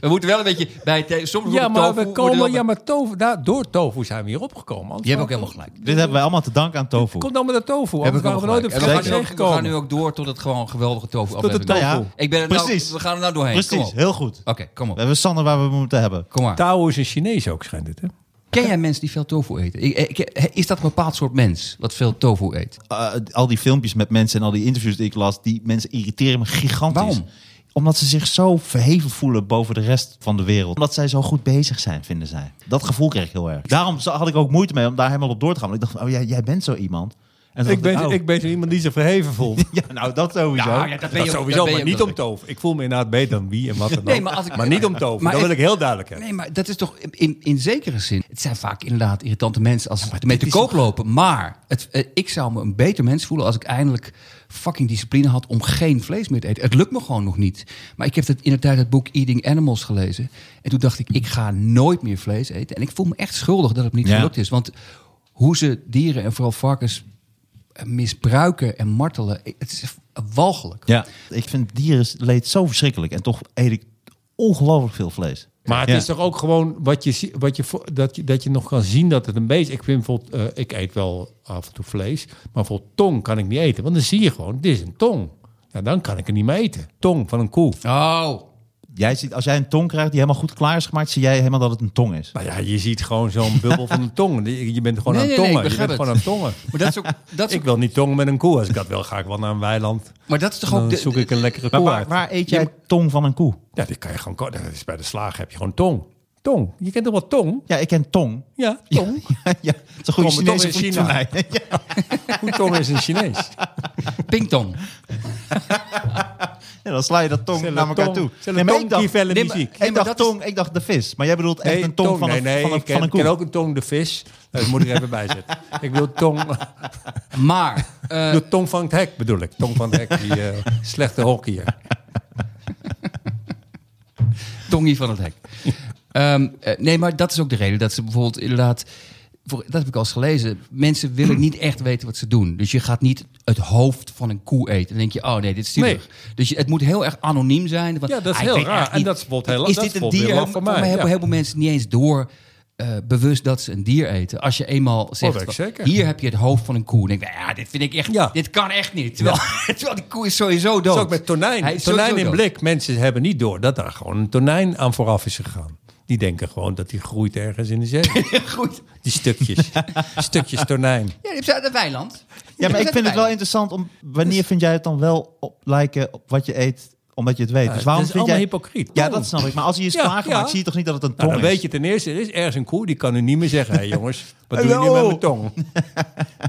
we moeten wel een beetje bij... het- Soms
Ja, maar
wordt tofu-
we
wordt er wel
komen,
bij-
ja, maar tofu, daar- door tofu zijn we hier opgekomen. Anders
Je hebt ook
waren
helemaal
we-
gelijk.
Dit hebben wij allemaal te danken aan tofu.
Komt allemaal de tofu,
Heb
anders
ik
waren
ook
we nooit op
gelijk. En we, gaan
straat
nu ook, we gaan nu
gekomen.
ook door tot het gewoon een geweldige tofu
Tot de
aflevering.
tofu.
wordt.
Nou ja,
Ik ben er
Precies.
Nou, we gaan er nou doorheen. Kom
Precies,
op.
heel goed.
Oké, kom
We
op.
hebben Sander waar we hem moeten hebben.
Kom maar.
Tao is een Chinees ook, schijnt het, hè?
Ken jij mensen die veel tofu eten? Ik- ik- Is dat een bepaald soort mens wat veel tofu eet?
Eh, al die filmpjes met mensen en al die interviews die ik las, die mensen irriteren me gigantisch.
Waarom?
Omdat ze zich zo verheven voelen boven de rest van de wereld. Omdat zij zo goed bezig zijn, vinden zij. Dat gevoel kreeg ik heel erg. Daarom za- had ik ook moeite mee om daar helemaal op door te gaan. Want ik dacht, van, oh jij, jij bent zo iemand. En toen
Ik
dacht
ben,
oh.
ik ben zo iemand die zich verheven voelt.
Ja, nou dat sowieso.
Ja, ja, dat ben
Dat
je-
sowieso,
dat ben
maar
je
niet
wel.
om tover. Ik voel me inderdaad beter dan wie en wat dan ook.
Nee, maar als ik-
niet om tover.
Maar
Dat wil
ik-
ik heel duidelijk hebben.
Nee, maar dat is toch in, in zekere zin. Het zijn vaak inderdaad irritante mensen als ze ermee te koop lopen. Maar het, eh, ik zou me een beter mens voelen als ik eindelijk fucking discipline had om geen vlees meer te eten. Het lukt me gewoon nog niet. Maar ik heb dat in de tijd het boek Eating Animals gelezen. En toen dacht ik, ik ga nooit meer vlees eten. En ik voel me echt schuldig dat het me niet
Ja.
gelukt is. Want hoe ze dieren en vooral varkens eh, misbruiken en martelen, eh, het is walgelijk.
Ja. Ik vind dierenleed zo verschrikkelijk. En toch eet ik ongelooflijk veel vlees.
Maar het
Ja.
is toch ook gewoon wat je, zie- wat je, vo- dat je, dat je nog kan zien dat het een beetje... Ik, vind bijvoorbeeld, eh, ik eet wel af en toe vlees, maar bijvoorbeeld tong kan ik niet eten. Want dan zie je gewoon, dit is een tong. Ja, dan kan ik er niet meer eten. Tong van een koe.
Oh,
Jij ziet, als jij een tong krijgt die helemaal goed klaar is gemaakt, zie jij helemaal dat het een tong is.
Nou ja, je ziet gewoon zo'n bubbel van een tong. Je je bent gewoon
Nee,
aan
nee, nee,
tongen.
ik
je
begrijp
bent
het.
gewoon aan tongen.
maar dat is ook. Dat is
Ik
ook
wil niet tongen met een koe. Als ik dat wil, ga ik wel naar een weiland.
maar dat is toch ook.
Dan
de-
Nou, zoek ik een lekkere
Maar
koe
waar,
uit.
waar eet jij tong van een koe?
Ja, die kan je gewoon... ko- Dat is bij de slager heb je gewoon tong. Tong. Je kent toch wel tong?
Ja, ik ken tong.
Ja, tong.
Ja, ja, het is een goede
Tom, Tom
Chinese
in
vriend
China.
van mij. Ja.
Hoe tong is een Chinees?
Pingtong.
Ja, dan sla je dat tong
Zullen
naar
we
elkaar
tong-
toe.
zullen we
maar
tong
ik dacht,
kieven en
nee, maar-
muziek?
Ik
Nee, maar
dacht
dat is-
tong, ik dacht de vis. Maar jij bedoelt echt een tong, van,
nee,
een,
nee,
van, een,
ik ken,
van een koe.
ik ken ook een tong de vis. Dat moet ik er even bij zetten. Ik wil
Eh.
tong,
Maar. eh,
de tong van het hek bedoel ik. Tong van het hek, die eh, slechte hockeyer.
Tongie van het hek. Ehm, eh, nee, maar dat is ook de reden dat ze bijvoorbeeld inderdaad. voor- Dat heb ik al eens gelezen. Mensen willen niet echt weten wat ze doen. Dus je gaat niet het hoofd van een koe eten. Dan denk je, oh nee, dit is zielig. Dus je, het moet heel erg anoniem zijn. Want,
Ja, dat is
ah, ik
heel
weet
raar.
echt
En dat is bijvoorbeeld heel-
Is
dat is
dit een
bijvoorbeeld
dier?
heel
Voor
lang
mij
voor mij,
hebben
ja.
heel veel mensen niet eens door eh, bewust dat ze een dier eten. Als je eenmaal
Oh, weet ik
zegt,
zeker.
hier heb je het hoofd van een koe. Dan denk ik, nou ja, dit vind ik echt,
Ja.
dit kan echt niet. Terwijl, terwijl die koe is sowieso dood.
Zo ook met
Hij
tonijn.
is
Tonijn
sowieso
in
dood.
blik. Mensen hebben niet door dat daar gewoon een tonijn aan vooraf is gegaan. Die denken gewoon dat die groeit ergens in de zee.
Goed.
Die stukjes. stukjes tonijn.
Ja, die is uit het weiland.
Ja, maar ik
Die is uit
vind het wel
weiland.
Dus-
interessant. Om, wanneer vind jij het dan wel op lijken op wat je eet omdat je het weet.
Ja,
dus waarom
het is
vind jij...
allemaal hypocriet.
Ja,
Waarom?
dat snap ik. Maar als hij is
Ja,
klaargemaakt,
ja.
zie je toch niet dat het een tong
Nou, dan
is?
weet je ten eerste, er is ergens een koe, die kan u niet meer zeggen... hé jongens, wat doe je nu
Hallo.
met mijn tong?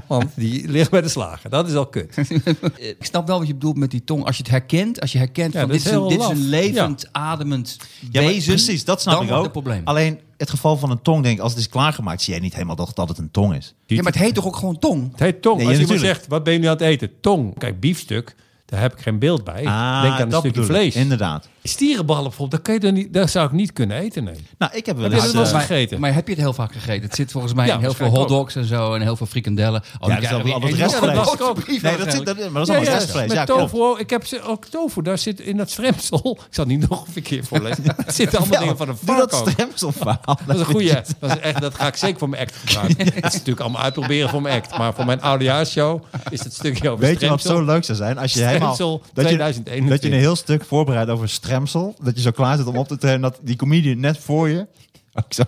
Want die ligt bij de slager. Dat is al kut.
Eh, Ik snap wel wat je bedoelt met die tong. Als je het herkent, als je herkent
Ja,
van
dat
dit
is
is, een,
heel
dit is
laf.
een levend, ademend
Ja, maar
wezen.
precies, dat snap
dan
ik
wordt
ook.
het probleem.
Alleen het geval van een tong, denk ik, als het is klaargemaakt, zie jij niet helemaal dat, dat het een tong is.
Ja, maar het heet toch ook gewoon tong?
Het heet tong.
Nee,
Als
ja,
iemand
natuurlijk.
zegt, wat ben je nu aan het eten? Tong. Kijk, biefstuk, daar heb ik geen beeld bij.
Ah,
Denk aan een
dat
stukje
bedoel ik.
vlees.
Inderdaad.
Stierenballen bijvoorbeeld, dat, kan je dan niet, dat zou ik niet kunnen eten. Nee.
Nou, ik heb wel
Heb je
eens...
dat wel
eh,
eens gegeten?
Maar heb je het heel vaak gegeten? Het zit volgens mij
Ja,
in heel veel
waarschijnlijk
hotdogs en zo en heel veel frikandellen. Oh,
eh, ja,
dan
dat is wel
krijgen we
al het
weer
rest-
restvlees.
Ja, dat was ook-
Nee, dat zit, dat, maar dat is
Ja,
allemaal
ja,
restvlees.
Met
Ja, klopt.
tofu. oh, Ik heb ze, ook tofu, daar zit in dat stremsel. Ik zal het niet nog een verkeer voorlezen. Er zitten allemaal
Wel,
dingen van een
Doe
vark
dat
ook.
stremselverhaal.
Dat is een goeie. Dat, is echt, dat ga ik zeker voor mijn act gebruiken. Dat is natuurlijk allemaal uitproberen voor mijn act. Maar voor mijn oudejaarsshow is het stukje over
Weet je wat
stremsel.
zo leuk zou zijn? Als je helemaal,
Stremsel
dat, je,
2021.
dat je een heel stuk voorbereidt over stremsel. Dat je zo klaar zit om op te trainen. Dat die comedian net voor je ook zo,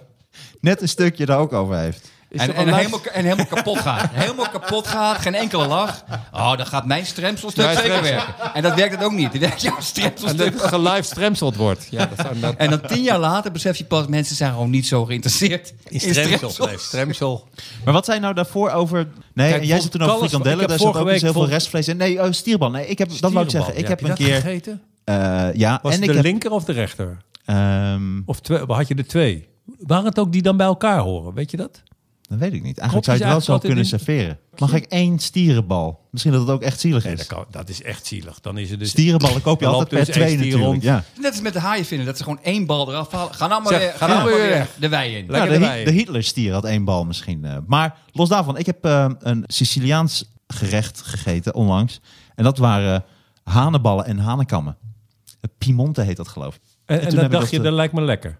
net een stukje daar ook over heeft.
Is
En,
er
en,
onlangs-
helemaal, en helemaal kapot gaat. Helemaal kapot gaat, geen enkele lach. Oh, dan gaat mijn stremselstuk
Mijn
zeker
stremsel.
werken. En dat werkt het ook niet. Dan werkt jouw
En dat
stremselstuk
het gelive stremseld wordt. Ja, dat zou dat...
En dan tien jaar later besef je pas, mensen zijn gewoon niet zo geïnteresseerd in stremsel.
Nee, stremsel.
Maar wat zei je nou daarvoor over... Nee,
Kijk,
en jij zit toen over
Volkalles- ik
frikandellen.
heb
Daar zat ook niet
vorige week
heel veel
Vol-
restvlees in. Nee, oh, stierbal. Nee, ik heb, dat wou ik zeggen. Ik heb
je
een
dat
keer...
gegeten?
eh, ja,
Was
en
het
ik
de
heb...
linker of de rechter?
ehm,
Of twee, had je er twee? Waren het ook die dan bij elkaar horen? Weet je dat?
dat weet ik niet.
Kropjes
Eigenlijk zou je het wel zo
eigenlijk
kunnen
altijd
serveren. Mag ik één stierenbal? Misschien dat het ook echt zielig
Nee,
is.
dat, kan, dat is echt zielig. Dan is het dus...
Stierenballen koop je
Dan
altijd
loopt
per
er dus
twee
één stier
natuurlijk.
rond.
Ja.
Net als met de haaien vinden, dat ze gewoon één bal eraf halen. Ga nou maar
Zeg,
weer,
ga
ga
nou
nou maar
maar
weer
weg.
de wei in.
Lekker
ja, Nou, de,
erbij.
Hi- de Hitlerstier had één bal misschien. eh. maar los daarvan, ik heb eh, een Siciliaans gerecht gegeten onlangs. En dat waren eh, hanenballen en hanenkammen. Eh, Piemonte heet dat geloof ik. toen
En, en
heb
dan
ik
dacht
dat,
je,
eh,
dat lijkt me lekker.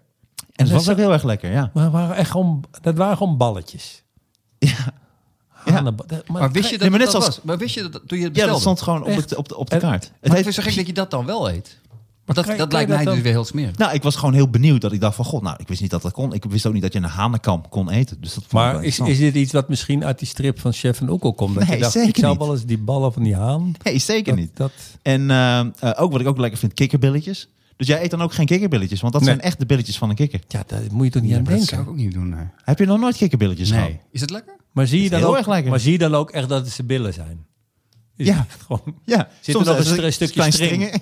En dat
dat
was ook heel erg lekker, ja.
Maar het waren echt gewoon, dat waren gewoon balletjes.
Ja,
Hanenba- dat-
Maar wist je dat
Nee, maar net
dat
zoals-
was? Maar wist je dat toen je het
ja
bestelde?
dat stond gewoon op,
Echt?
het, op, de, op de
En-
kaart. Het
Maar
heet,
het is zo gek dat je dat dan wel eet. Want dat,
kan je-
dat
kan je
lijkt mij
dat
dus
dan-
weer heel smerig.
nou, ik was gewoon heel benieuwd dat ik dacht van... God, nou, ik wist niet dat dat kon. Ik wist ook niet dat je een hanenkam kon eten. Dus dat vond ik wel
Maar is, is
interessant.
dit iets wat misschien uit die strip van Chef en Oekel komt? Dat
Nee,
je dacht,
zeker
ik zou
niet.
wel eens die ballen van die haan...
Nee, zeker
Dat,
niet.
dat-
En eh, eh, ook wat ik ook lekker vind, kikkerbilletjes. Dus jij eet dan ook geen kikkerbilletjes, want dat
Nee.
zijn echt de billetjes van een kikker.
ja, daar moet je toch niet aan
dat zou
denken.
ik ook niet doen. Nee.
Heb je nog nooit kikkerbilletjes gehad?
Is het lekker?
Maar zie, je
Dat is
dan
heel
ook,
erg lekker.
maar zie je dan ook echt dat het zijn billen zijn? Is
Ja.
het Gewoon,
Ja,
Zit er nog een stre-
een
stukje
klein
string?
stringen-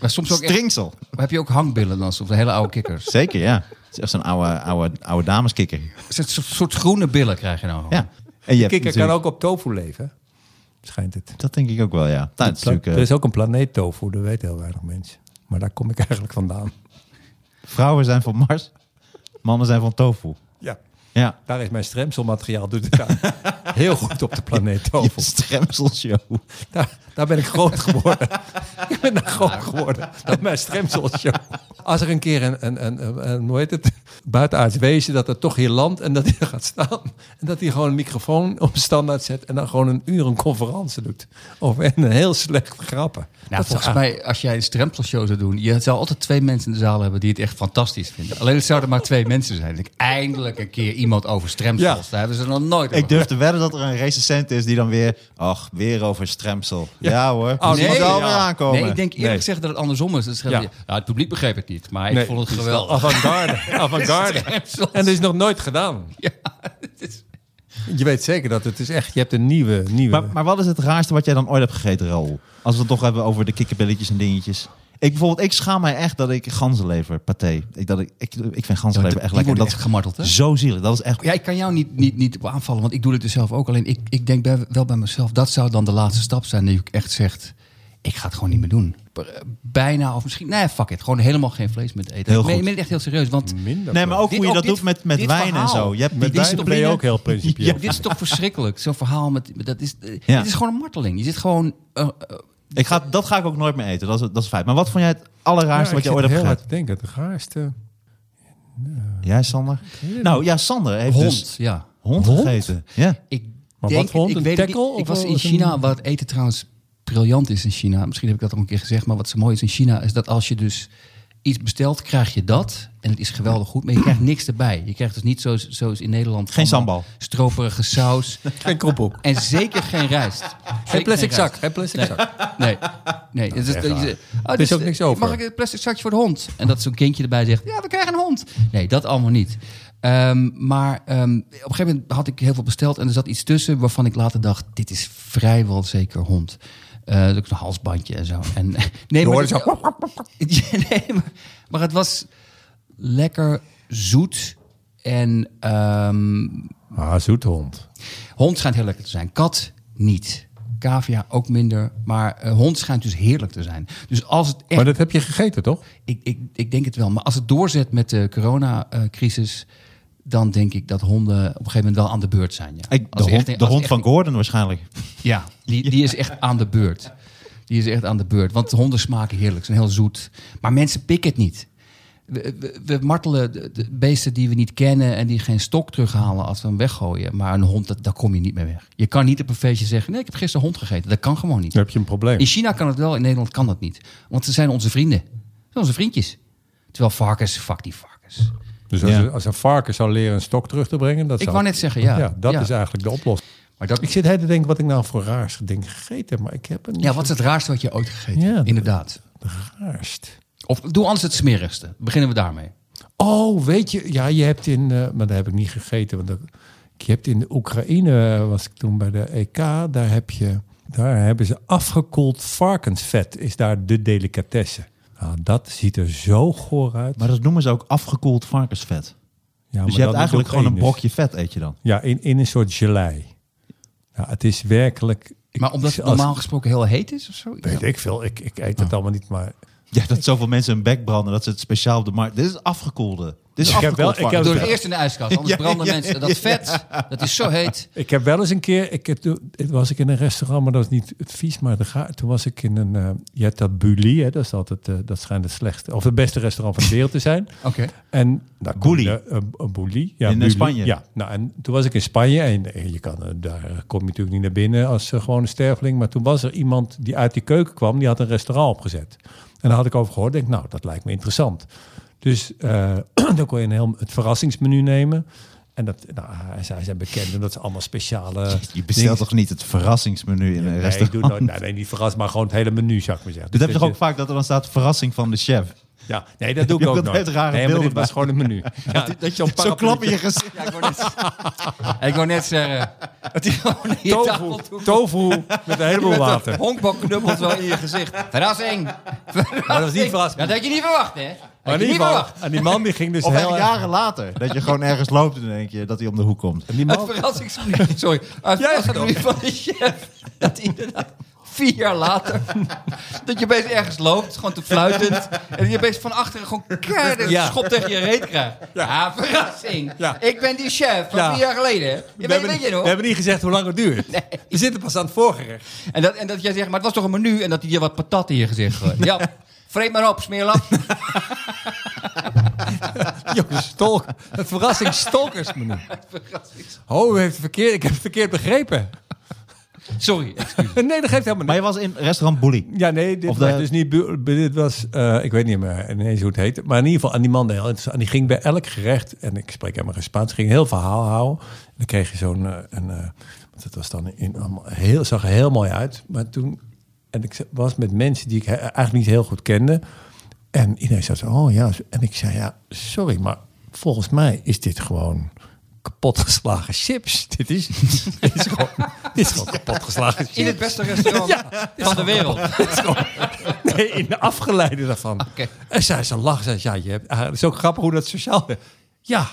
Maar soms ook echt,
Stringsel.
heb je ook hangbillen dan soms, de hele oude kikkers.
Zeker, ja. Het is echt zo'n oude, oude, oude dameskikker.
Een soort, soort groene billen krijg je nou.
Ja. En je hebt
kikker kan
natuurlijk-
ook op tofu leven, schijnt het.
Dat denk ik ook wel, ja. Nou, het is natuurlijk,
Er
eh,
is ook een planeet tofu, dat weten heel weinig mensen. Maar daar kom ik eigenlijk vandaan.
vrouwen zijn van Mars, mannen zijn van tofu.
Ja,
Ja.
daar is mijn stremselmateriaal doet het aan. Heel goed op de planeet
Oh.
Je
tofu.
stremselshow.
Daar, daar ben ik groot geworden. ik ben daar groot geworden. Dat mijn stremselshow. Als er een keer een, een, een, een, een- hoe heet het, buitenaards wezen dat er toch hier landt en dat hij er gaat staan. En dat hij gewoon een microfoon op standaard zet en dan gewoon een uur een conferentie doet. Of en een heel slecht grappen.
Nou,
Dat zou-
volgens mij, als jij een stremselshow zou doen, je zou altijd twee mensen in de zaal hebben die het echt fantastisch vinden. Alleen het zouden maar twee mensen zijn. Ik denk, eindelijk een keer iemand over stremsels.
Ja.
Daar hebben ze nog nooit over
Ik durf te wedden dat er een recensent is die dan weer... Ach, weer over stremsel. Ja, hoor.
Oh,
Oh, nee,
nee,
zal
ja.
weer aankomen.
Nee, ik denk eerlijk
Nee.
gezegd dat het andersom is. Dat is
Ja.
ja. het publiek begreep het niet, maar
Nee,
ik vond het
is
geweldig.
Avant-garde. Avant-garde.
Stremsels.
En dat is nog nooit gedaan.
Ja, het is-
Je weet zeker dat het is echt, je hebt een nieuwe, nieuwe.
Maar, maar wat is het raarste wat jij dan ooit hebt gegeten, Raoul? Als we het toch hebben over de kikkerbilletjes en dingetjes. Ik bijvoorbeeld, ik schaam mij echt dat ik ganzenlever, paté. Ik, dat ik, ik, ik vind
Die
ganzenlever echt
worden
lekker. Dat
echt
is
gemarteld, hè?
zo zielig. Dat is echt...
Ja, ik kan jou niet, niet, niet op aanvallen, want ik doe het dus zelf ook. Alleen ik, ik denk bij, wel bij mezelf, dat zou dan de laatste stap zijn dat ik echt zegt, ik ga het gewoon niet meer doen. eh, Bijna of misschien, nee, fuck it. Gewoon helemaal geen vlees meer eten.
Heel
ik meen-
goed.
meen het echt heel serieus, want
minder.
Nee, maar ook
Dit-
hoe je
ook
dat
dit-
doet met, met
dit
wijn en
verhaal.
zo. Je hebt die
Met wijn
discipline.
ben je ook heel principieel.
Ja.
dit is toch verschrikkelijk, zo'n verhaal. Met, dat is, eh,
Ja.
Dit is gewoon een marteling. Je zit gewoon... eh, eh,
Ik ga, dat ga ik ook nooit meer eten. Dat is, dat is feit. Maar wat vond jij het allerraarste wat je ooit hebt
heel hard
gegeten?
te denken. Het raarste.
Jij, Sander? Nou ja, Sander heeft
hond,
dus
ja.
hond,
Hond?
gegeten. Ja.
Ik
Maar
denk,
wat voor hond?
Ik,
Een
weet het
tackle
niet. ik
of
was in
was een-
China, waar het eten trouwens briljant is in China. Misschien heb ik dat al een keer gezegd, maar wat zo mooi is in China... is dat als je dus iets bestelt, krijg je dat. En het is geweldig goed, maar je krijgt niks erbij. Je krijgt dus niet zoals, zoals in Nederland...
Geen
allemaal
sambal.
Stroperige saus.
Geen krophoek.
En zeker geen rijst.
Geen
Zeker
plastic
rijst.
zak. Geen plastic
Nee.
zak.
Nee, nee. Het is,
Nou, echt waar.
oh, dit
Er is ook niks over.
Mag ik een plastic zakje voor de hond? En dat zo'n kindje erbij zegt, ja, we krijgen een hond. Nee, dat allemaal niet. Ehm, maar ehm, op een gegeven moment had ik heel veel besteld en er zat iets tussen waarvan ik later dacht, dit is vrijwel zeker hond. Eh ook een halsbandje en zo. En, nee, maar
hoorde
dat- Ja, nee, maar, maar het was lekker zoet en ehm,
Ah, zoete hond.
Hond schijnt heel lekker te zijn. Kat niet. Cavia ook minder. Maar eh, hond schijnt dus heerlijk te zijn. Dus als het echt.
Maar dat heb je gegeten, toch?
Ik, ik, ik denk het wel. Maar als het doorzet met de coronacrisis. dan denk ik dat honden op een gegeven moment wel aan de beurt zijn. Ja.
Ik, de
Als
hond,
het echt-
de
als het
hond
echt-
van Gordon waarschijnlijk.
Ja, die, die is echt aan de beurt. Die is echt aan de beurt. Want honden smaken heerlijk. Ze zijn heel zoet. Maar mensen pikken het niet. We, we- we martelen de, de beesten die we niet kennen en die geen stok terughalen als we hem weggooien. Maar een hond, dat, daar kom je niet mee weg. Je kan niet op een feestje zeggen: nee, ik heb gisteren hond gegeten. Dat kan gewoon niet.
Dan heb je een probleem.
In China kan het wel, in Nederland kan dat niet. Want ze zijn onze vrienden. Ze zijn onze vriendjes. Terwijl varkens, fuck die varkens.
Dus als,
Ja.
een- als een varken zou leren een stok terug te brengen, dat
Ik
zou...
wou net zeggen, ja.
dat
Ja.
is eigenlijk de oplossing.
Maar dat,
Ik zit heel te denken wat ik nou voor raars ding gegeten heb, maar ik heb het niet
ja, wat is het raarste wat je ooit gegeten hebt?
Ja, dat-
Inderdaad.
raarst.
Of doe anders het smerigste. Beginnen we daarmee.
Oh, weet je, ja, je hebt in, eh, maar dat heb ik niet gegeten, want dat, je hebt in de Oekraïne eh, was ik toen bij de EK, daar heb je, daar hebben ze afgekoeld varkensvet, is daar de delicatesse. Nou, dat ziet er zo goor uit.
Maar dat noemen ze ook afgekoeld varkensvet.
ja, maar
dus je
dan
hebt eigenlijk
is
gewoon
het
een
Oekraïners.
brokje vet eet je dan.
Ja, in, in een soort gelei. Ja, het is werkelijk. ik-
Maar omdat het
als-
normaal gesproken heel heet is of zo?
Weet ik veel, ik, ik eet het
Ah.
allemaal niet, maar
Ja, dat zoveel mensen hun bek branden dat ze het speciaal op de markt... Dit is afgekoelde. Dit is
Ik heb wel-
afgekoeld
ik heb-
varkens.
Door het eerst in de ijskast, anders
Ja,
branden
ja,
mensen. Dat vet, dat is zo heet.
Ik heb wel eens een keer, ik, heb toen het was ik in een restaurant, maar dat was niet het vies, maar de ga- toen was ik in een, eh, je hebt dat Bully, hè, dat is altijd, eh, dat schijnt het slechtste, of het beste restaurant van de wereld te zijn.
Oké.
En nou,
Bully.
Een Bully. Ja,
In, eh,
Bully.
Spanje.
Ja, nou, en toen was ik in Spanje en eh, je kan, eh, daar kom je natuurlijk niet naar binnen als eh, gewone sterveling, maar toen was er iemand die uit die keuken kwam, die had een restaurant opgezet. En daar had ik over gehoord, denk nou, dat lijkt me interessant. Dus eh, dan kon je een heel, het verrassingsmenu nemen. En dat, nou, zij zijn bekend omdat ze allemaal speciale
Je bestelt toch niet het verrassingsmenu in een
Nee, ik
restaurant?
doe nooit, nee, nee, niet verrast, maar gewoon het hele menu, zou ik maar zeggen.
Dit heb je toch ook
Dus
vaak dat er dan staat verrassing van de chef?
je- Ja, nee, dat doe ik
Je
ook
wilt
nooit.
net rare
nee, maar dit
beelden
was gewoon een menu. Ja, dat je op
Zo klap in je gezicht.
Ja, ik wou net, ik wou net zeggen. Dat hij gewoon in je tafel toe-
Tofu, tofu met een heleboel water.
Honkbal knuppelt wel in je gezicht. Verrassing. Verrassing.
Maar dat is niet verrast.
Ja, dat had je niet verwacht, hè? Dat had
Maar in
je
ieder
niet
geval,
verwacht.
en die man die ging dus
Of
heel
echt
erg...
jaren later. Dat je gewoon ergens loopt en dan denk je dat hij om de hoek komt.
En die
Het
man,
verrassingsmenu. Sorry. Het
Jij
verrassingsmenu van de chef. Dat inderdaad vier jaar later. dat je opeens ergens loopt, gewoon te fluitend. en je opeens van achteren gewoon keihard een
Ja.
schop tegen je reet krijgt. Ja, verrassing.
Ja.
Ik ben die chef van
Ja.
vier jaar geleden. Je weet,
we, hebben,
weet
niet-
je nog?
we hebben niet gezegd hoe lang het duurt. We zitten pas aan het voorgerecht.
En dat, en dat jij zegt, maar het was toch een menu? En dat hij je wat patat in je gezicht gooit. Ja, vreet maar op, smeerlap.
Jongens, stalk, het verrassingsstalkersmenu. Oh, u heeft het verkeerd, ik heb het verkeerd begrepen.
Sorry.
Nee, dat geeft helemaal
Maar je was in restaurant Bully.
Ja, nee, dit
Of
was
de-
dus niet... bu- bu- Dit was, eh, ik weet niet meer ineens hoe het heette. Maar in ieder geval, aan die man, heel interessant. en die ging bij elk gerecht, en ik spreek helemaal geen Spaans, ging een heel verhaal houden. En dan kreeg je zo'n... eh, een, eh, want dat was dan in, allemaal heel, zag er heel mooi uit. Maar toen... En ik was met mensen die ik he- eigenlijk niet heel goed kende. En iedereen zat zo, oh ja. En ik zei, ja, sorry, maar volgens mij is dit gewoon kapotgeslagen chips. Dit is, dit is gewoon, dit is gewoon kapotgeslagen chips.
In het beste restaurant van de wereld.
Nee, in de afgeleide daarvan. En zij ze lachen. Zei, ze, ja, je hebt, ah, het is ook grappig hoe dat sociaal... Ja,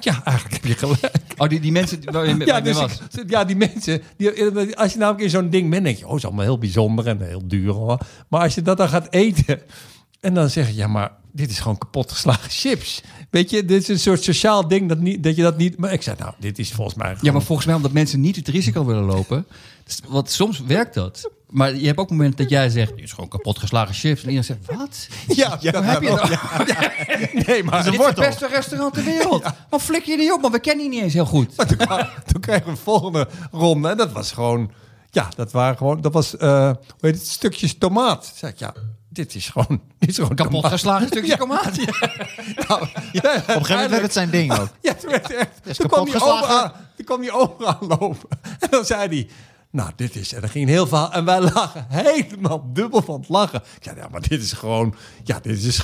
ja, eigenlijk heb je gelijk.
Oh, die, die mensen waar je mee
Ja,
waar je mee
dus
was.
ik- ja die mensen... Die, als je namelijk in zo'n ding bent, denk je... Oh, het is allemaal heel bijzonder en heel duur. Hoor. Maar als je dat dan gaat eten... En dan zeg je, ja, maar dit is gewoon kapotgeslagen chips. Weet je, dit is een soort sociaal ding dat, niet, dat je dat niet... Maar ik zei, nou, dit is volgens mij...
Ja, maar
gewoon-
volgens mij omdat mensen niet het risico willen lopen. Dus- Want soms werkt dat. Maar je hebt ook momenten dat jij zegt, dit is gewoon kapot geslagen chips. En iedereen zegt, wat?
ja, dat
Hoe heb je dat?
Nee, maar...
Dit is het beste restaurant ter wereld. Maar flik je die op, man. We kennen die niet eens heel goed.
Maar toen, kwa- toen kregen we een volgende ronde. En dat was gewoon. Ja, dat, waren gewoon, dat was. eh, hoe heet het? Stukjes tomaat. Zeg ik ja. dit is gewoon, dit is gewoon
Kapot
tomaat.
geslagen stukje tomaat.
Nou, ja,
Op een gegeven moment werd het zijn ding ook.
Ja, toen werd echt.
is
toen, kwam
kapot
die oom
geslagen.
aan, toen kwam die oom aanlopen. En dan zei hij. Nou, dit is. En dan ging een heel verhaal. En wij lachen helemaal dubbel van het lachen. Ik zei, ja, maar dit is gewoon. Ja, dit is.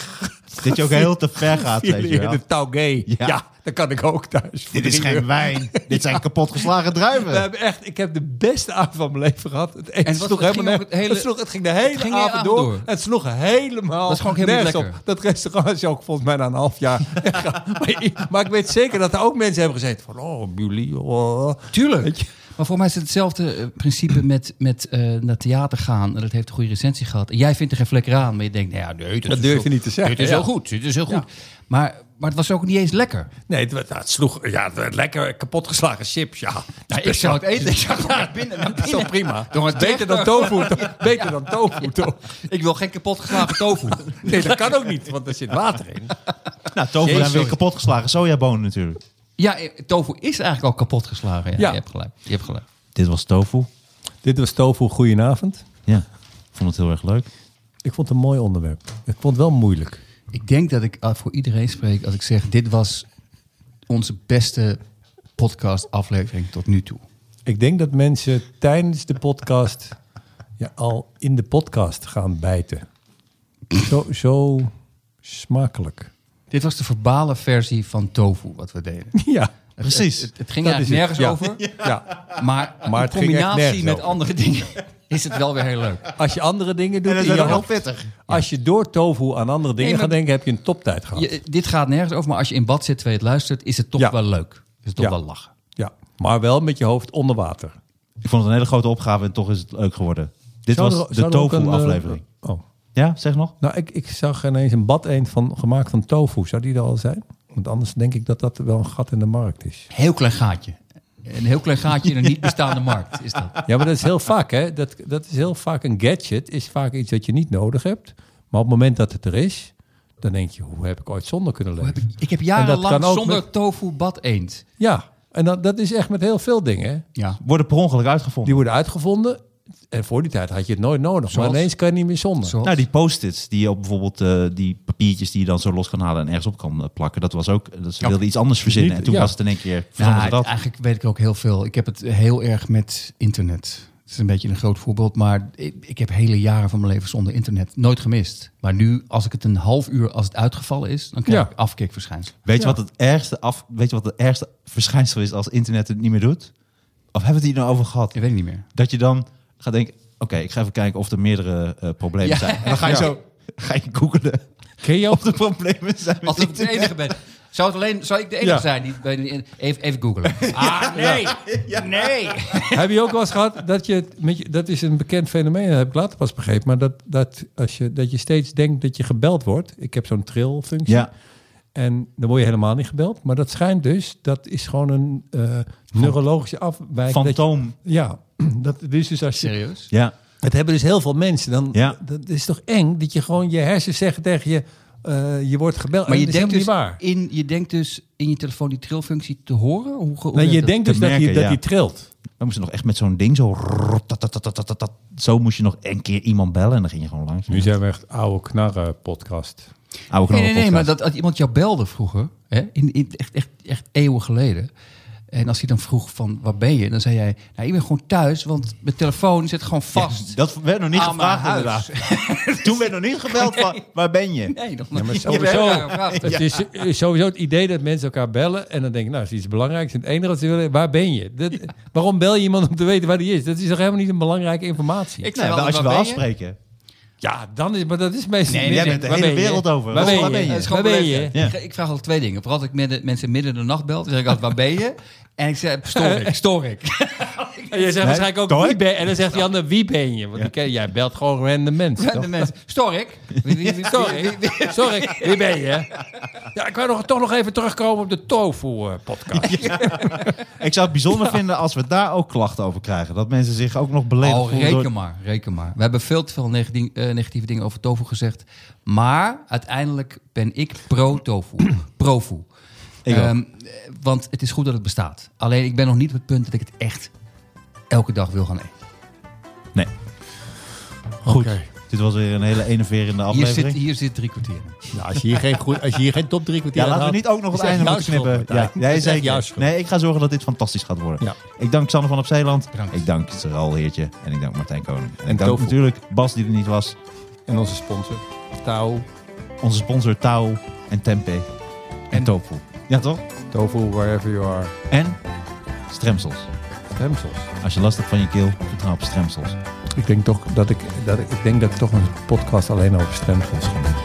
Dit je ook heel te ver gaat, weet je wel.
De taugé.
Ja.
Ja. dat kan ik ook thuis. voor
Dit is
drie
geen
euro.
wijn. Dit zijn kapotgeslagen druiven.
We hebben echt, ik heb de beste avond van mijn leven gehad. Het eten
En wat-
sloeg
het ging
helemaal nergens-
ook het hele-
het, sloeg, het ging de hele
ging de
avond,
avond
door.
door.
Het sloeg helemaal
Dat is gewoon helemaal
nergens
niet lekker.
op. Dat restaurant is ook volgens mij na een half jaar. weggegaan. maar, ik- maar ik weet zeker dat er ook mensen hebben gezeten van... Oh, jullie, oh.
Tuurlijk.
Weet je?
Maar voor mij is het hetzelfde eh, principe met, met eh, naar theater gaan. En dat heeft een goede recensie gehad. En jij vindt er geen flikker aan. Maar je denkt, nou ja, nee,
Dat
is
durf
wel-
je niet te zeggen,
Dit is
ja.
heel goed. Dit is heel goed.
Ja.
Maar, maar het was ook niet eens lekker.
Nee, het, werd- het sloeg ja, het werd lekker kapotgeslagen chips, ja.
Nou, ik zou het eten. Ik zou het binnen. naar
Dat is
binnen.
toch prima.
Door een
Beter dan tofu. toch? Beter dan tofu, toch?
Ik wil geen kapot geslagen tofu.
Nee, dat kan ook niet, want er zit water in.
nou, tofu
Jezus,
zijn weer
sorry.
kapotgeslagen. Sojabonen natuurlijk.
Ja, eh, tofu is eigenlijk al kapot geslagen. Ja,
Ja.
Je hebt gelijk. Je hebt gelijk.
Dit was tofu.
Dit was tofu, goedenavond.
Ja, ik vond het heel erg leuk.
Ik vond het een mooi onderwerp. Ik vond het wel moeilijk.
Ik denk dat ik eh, voor iedereen spreek als ik zeg: dit was onze beste podcast-aflevering tot nu toe.
Ik denk dat mensen tijdens de podcast ja, al in de podcast gaan bijten. Zo, zo smakelijk.
Dit was de verbale versie van tofu wat we deden.
Ja,
Precies.
Het, het ging
Dat is
eigenlijk nergens
het, ja.
over,
ja.
maar,
Maar
in
het ging echt
combinatie
nergens
met
over.
andere dingen is het wel weer heel leuk.
Als je andere dingen doet, in je hoofd-
pittig.
als je door tofu aan andere dingen
Nee, maar-
gaat denken, heb je een toptijd gehad.
Je- dit gaat nergens over, maar als je in bad zit terwijl je het luistert, is het toch
Ja.
wel leuk. Is het toch
Ja.
wel lachen.
Ja, maar wel met je hoofd onder water.
Ik vond het een hele grote opgave en toch is het leuk geworden. Dit
Zou
was
er-
de
zou er ook een, eh,
tofu-aflevering.
Oh.
Ja, zeg nog.
Nou, ik, ik zag ineens een badeend van, gemaakt van tofu. Zou die er al zijn? Want anders denk ik dat dat wel een gat in de markt is.
Heel klein gaatje. Een heel klein gaatje in een niet bestaande markt is dat.
Ja, maar dat is heel vaak, hè? Dat, dat is heel vaak een gadget, is vaak iets dat je niet nodig hebt. Maar op het moment dat het er is, dan denk je, hoe heb ik ooit zonder kunnen leven?
Ik heb
kan
jarenlang
ook
zonder
met-
tofu bad eend.
Ja, en dat, dat is echt met heel veel dingen. hè.
Ja.
Worden per ongeluk uitgevonden.
Die worden uitgevonden en voor die tijd had je het nooit nodig.
Zoals?
Maar ineens kan je niet meer zonder.
Zoals?
Nou, die post-its die je op bijvoorbeeld eh, die papiertjes die je dan zo los kan halen en ergens op kan eh, plakken. Dat was ook, dat ze
Ja.
wilden iets anders verzinnen.
Niet-
en toen
ja.
was het in één keer, verzonnen
Ja,
ze dat.
Nou, eigenlijk weet ik ook heel veel. Ik heb het heel erg met internet. Het is een beetje een groot voorbeeld, maar ik, ik heb hele jaren van mijn leven zonder internet nooit gemist. Maar nu, als ik het een half uur, als het uitgevallen is, dan krijg
Ja.
ik afkikverschijnselen.
Weet, je
Ja.
wat het ergste af, weet je wat het ergste verschijnsel is als internet het niet meer doet? Of hebben we het hier nou over gehad?
Ik weet het niet meer.
Dat je dan gaat denken, oké, ik ga even kijken of er meerdere eh, problemen
Ja.
zijn. En dan ga je
Ja.
zo, ga je googelen
Ken je
of
ook?
de problemen zijn met
Als ik de
internet.
enige ben. Zou, het alleen, zou ik de enige
Ja.
zijn? Die, bij de- even, even googlen. Ah, nee. Nee.
heb je ook wel eens gehad dat je, het met je... Dat is een bekend fenomeen, dat heb ik later pas begrepen. Maar dat, dat, als je, dat je steeds denkt dat je gebeld wordt. Ik heb zo'n trillfunctie.
Ja,
En dan word je helemaal niet gebeld. Maar dat schijnt dus, dat is gewoon een eh, neurologische afwijking. dat je-
fantoom.
Ja, dat is dus als je...
Serieus?
Ja,
Het hebben dus heel veel mensen. Dan,
Ja.
Dat is toch eng dat je gewoon je hersen zegt tegen je... eh, je wordt gebeld.
Maar
En
je
dat is
denkt, dus
helemaal niet waar.
in, je denkt dus in je telefoon die trillfunctie te horen? Hoe, ge- hoe
Nee,
werkt
je
dat?
denkt
te
dus dat, je,
merken,
dat
ja.
die trilt.
we moesten nog echt met zo'n ding zo... rrrr, tat, tat, tat, tat, tat, tat. Zo moest je nog een keer iemand bellen en dan ging je gewoon langs.
zijn we echt oude knarren podcast.
Oude knoppen
Nee, nee, nee, maar
podcast.
dat, als iemand jou belde vroeger, hè, in, in, echt, echt, echt eeuwen geleden. En als hij dan vroeg van, waar ben je? Dan zei jij, nou, ik ben gewoon thuis, want mijn telefoon zit gewoon vast.
Dat werd nog niet
Aan mijn
gevraagd
huis.
inderdaad. Toen werd nog niet gebeld van, waar ben je?
Nee, nog
Ja, maar
niet.
sowieso,
Ja, ja, ja.
het is, is sowieso het idee dat mensen elkaar bellen en dan denken, nou, is iets belangrijks. En het enige wat ze willen, waar ben je? Dat, Waarom bel je iemand om te weten waar die is? Dat is toch helemaal niet een belangrijke informatie?
Ik
Nee,
zei
wel,
altijd,
als je
waar
wil
ben je?
afspreken.
ja, dan is, maar dat is meestal
Nee,
niet.
jij
bent de
Waar
hele
ben je?
wereld over.
Waar ben
Waar
je?
ben je?
Dat is gewoon
Waar ben je?
beleefdheid. Ik, ik vraag altijd twee dingen. Vooral als ik midden, mensen midden in de nacht bel, dan zeg ik altijd, waar ben je? En ik zeg, stoor ik, stoor ik.
En je zegt waarschijnlijk ook,
Toch?
wie ben En dan zegt die ander, wie ben je? Want die ken- jij belt gewoon random mensen.
En
toch?
de mensen, stoor ik? Wie- wie- wie- wie-
Sorry,
wie- wie-
sorry, wie ben je? Ja, ik wou nog, toch nog even terugkomen op de eh, tofu-podcast.
Ik zou het bijzonder vinden als we daar ook klachten over krijgen. Dat mensen zich ook nog beledigd
Oh,
voelen
reken
door-
maar, reken maar. We hebben veel te veel negatieve, negatieve dingen over tofu gezegd. Maar uiteindelijk ben ik pro-tofu. Profu.
Ik ook.
Ehm, eh, want het is goed dat het bestaat. Alleen ik ben nog niet op het punt dat ik het echt elke dag wil gaan eten.
Nee.
Goed.
Dus Dit was weer een hele enerverende
Hier zit,
aflevering.
hier zit drie kwartier.
Nou, als, je hier geen goed, als je hier geen top drie kwartier
Ja, laten we
had,
niet ook nog het
is echt
einde
jouw
moeten knippen.
schuld,
Ja,
Martijn.
jij
Is echt
zeker.
jouw schuld.
Nee, ik ga zorgen dat dit fantastisch gaat worden.
Ja.
Ik dank Xander van op Zeeland.
Bedankt.
Ik dank Saral Heertje. En ik dank Martijn Koning. En, ik dank
Tofu.
natuurlijk Bas die er niet was.
En onze sponsor, Tau,
Onze sponsor Tao en Tempe. En Tofu. Ja, toch?
Tofu, wherever you are.
En stremsels.
Remsels.
Als je last hebt van je keel, vertrouw op stremsels.
Ik denk toch dat ik, dat ik, ik denk dat ik toch een podcast alleen over stemgels ga doen.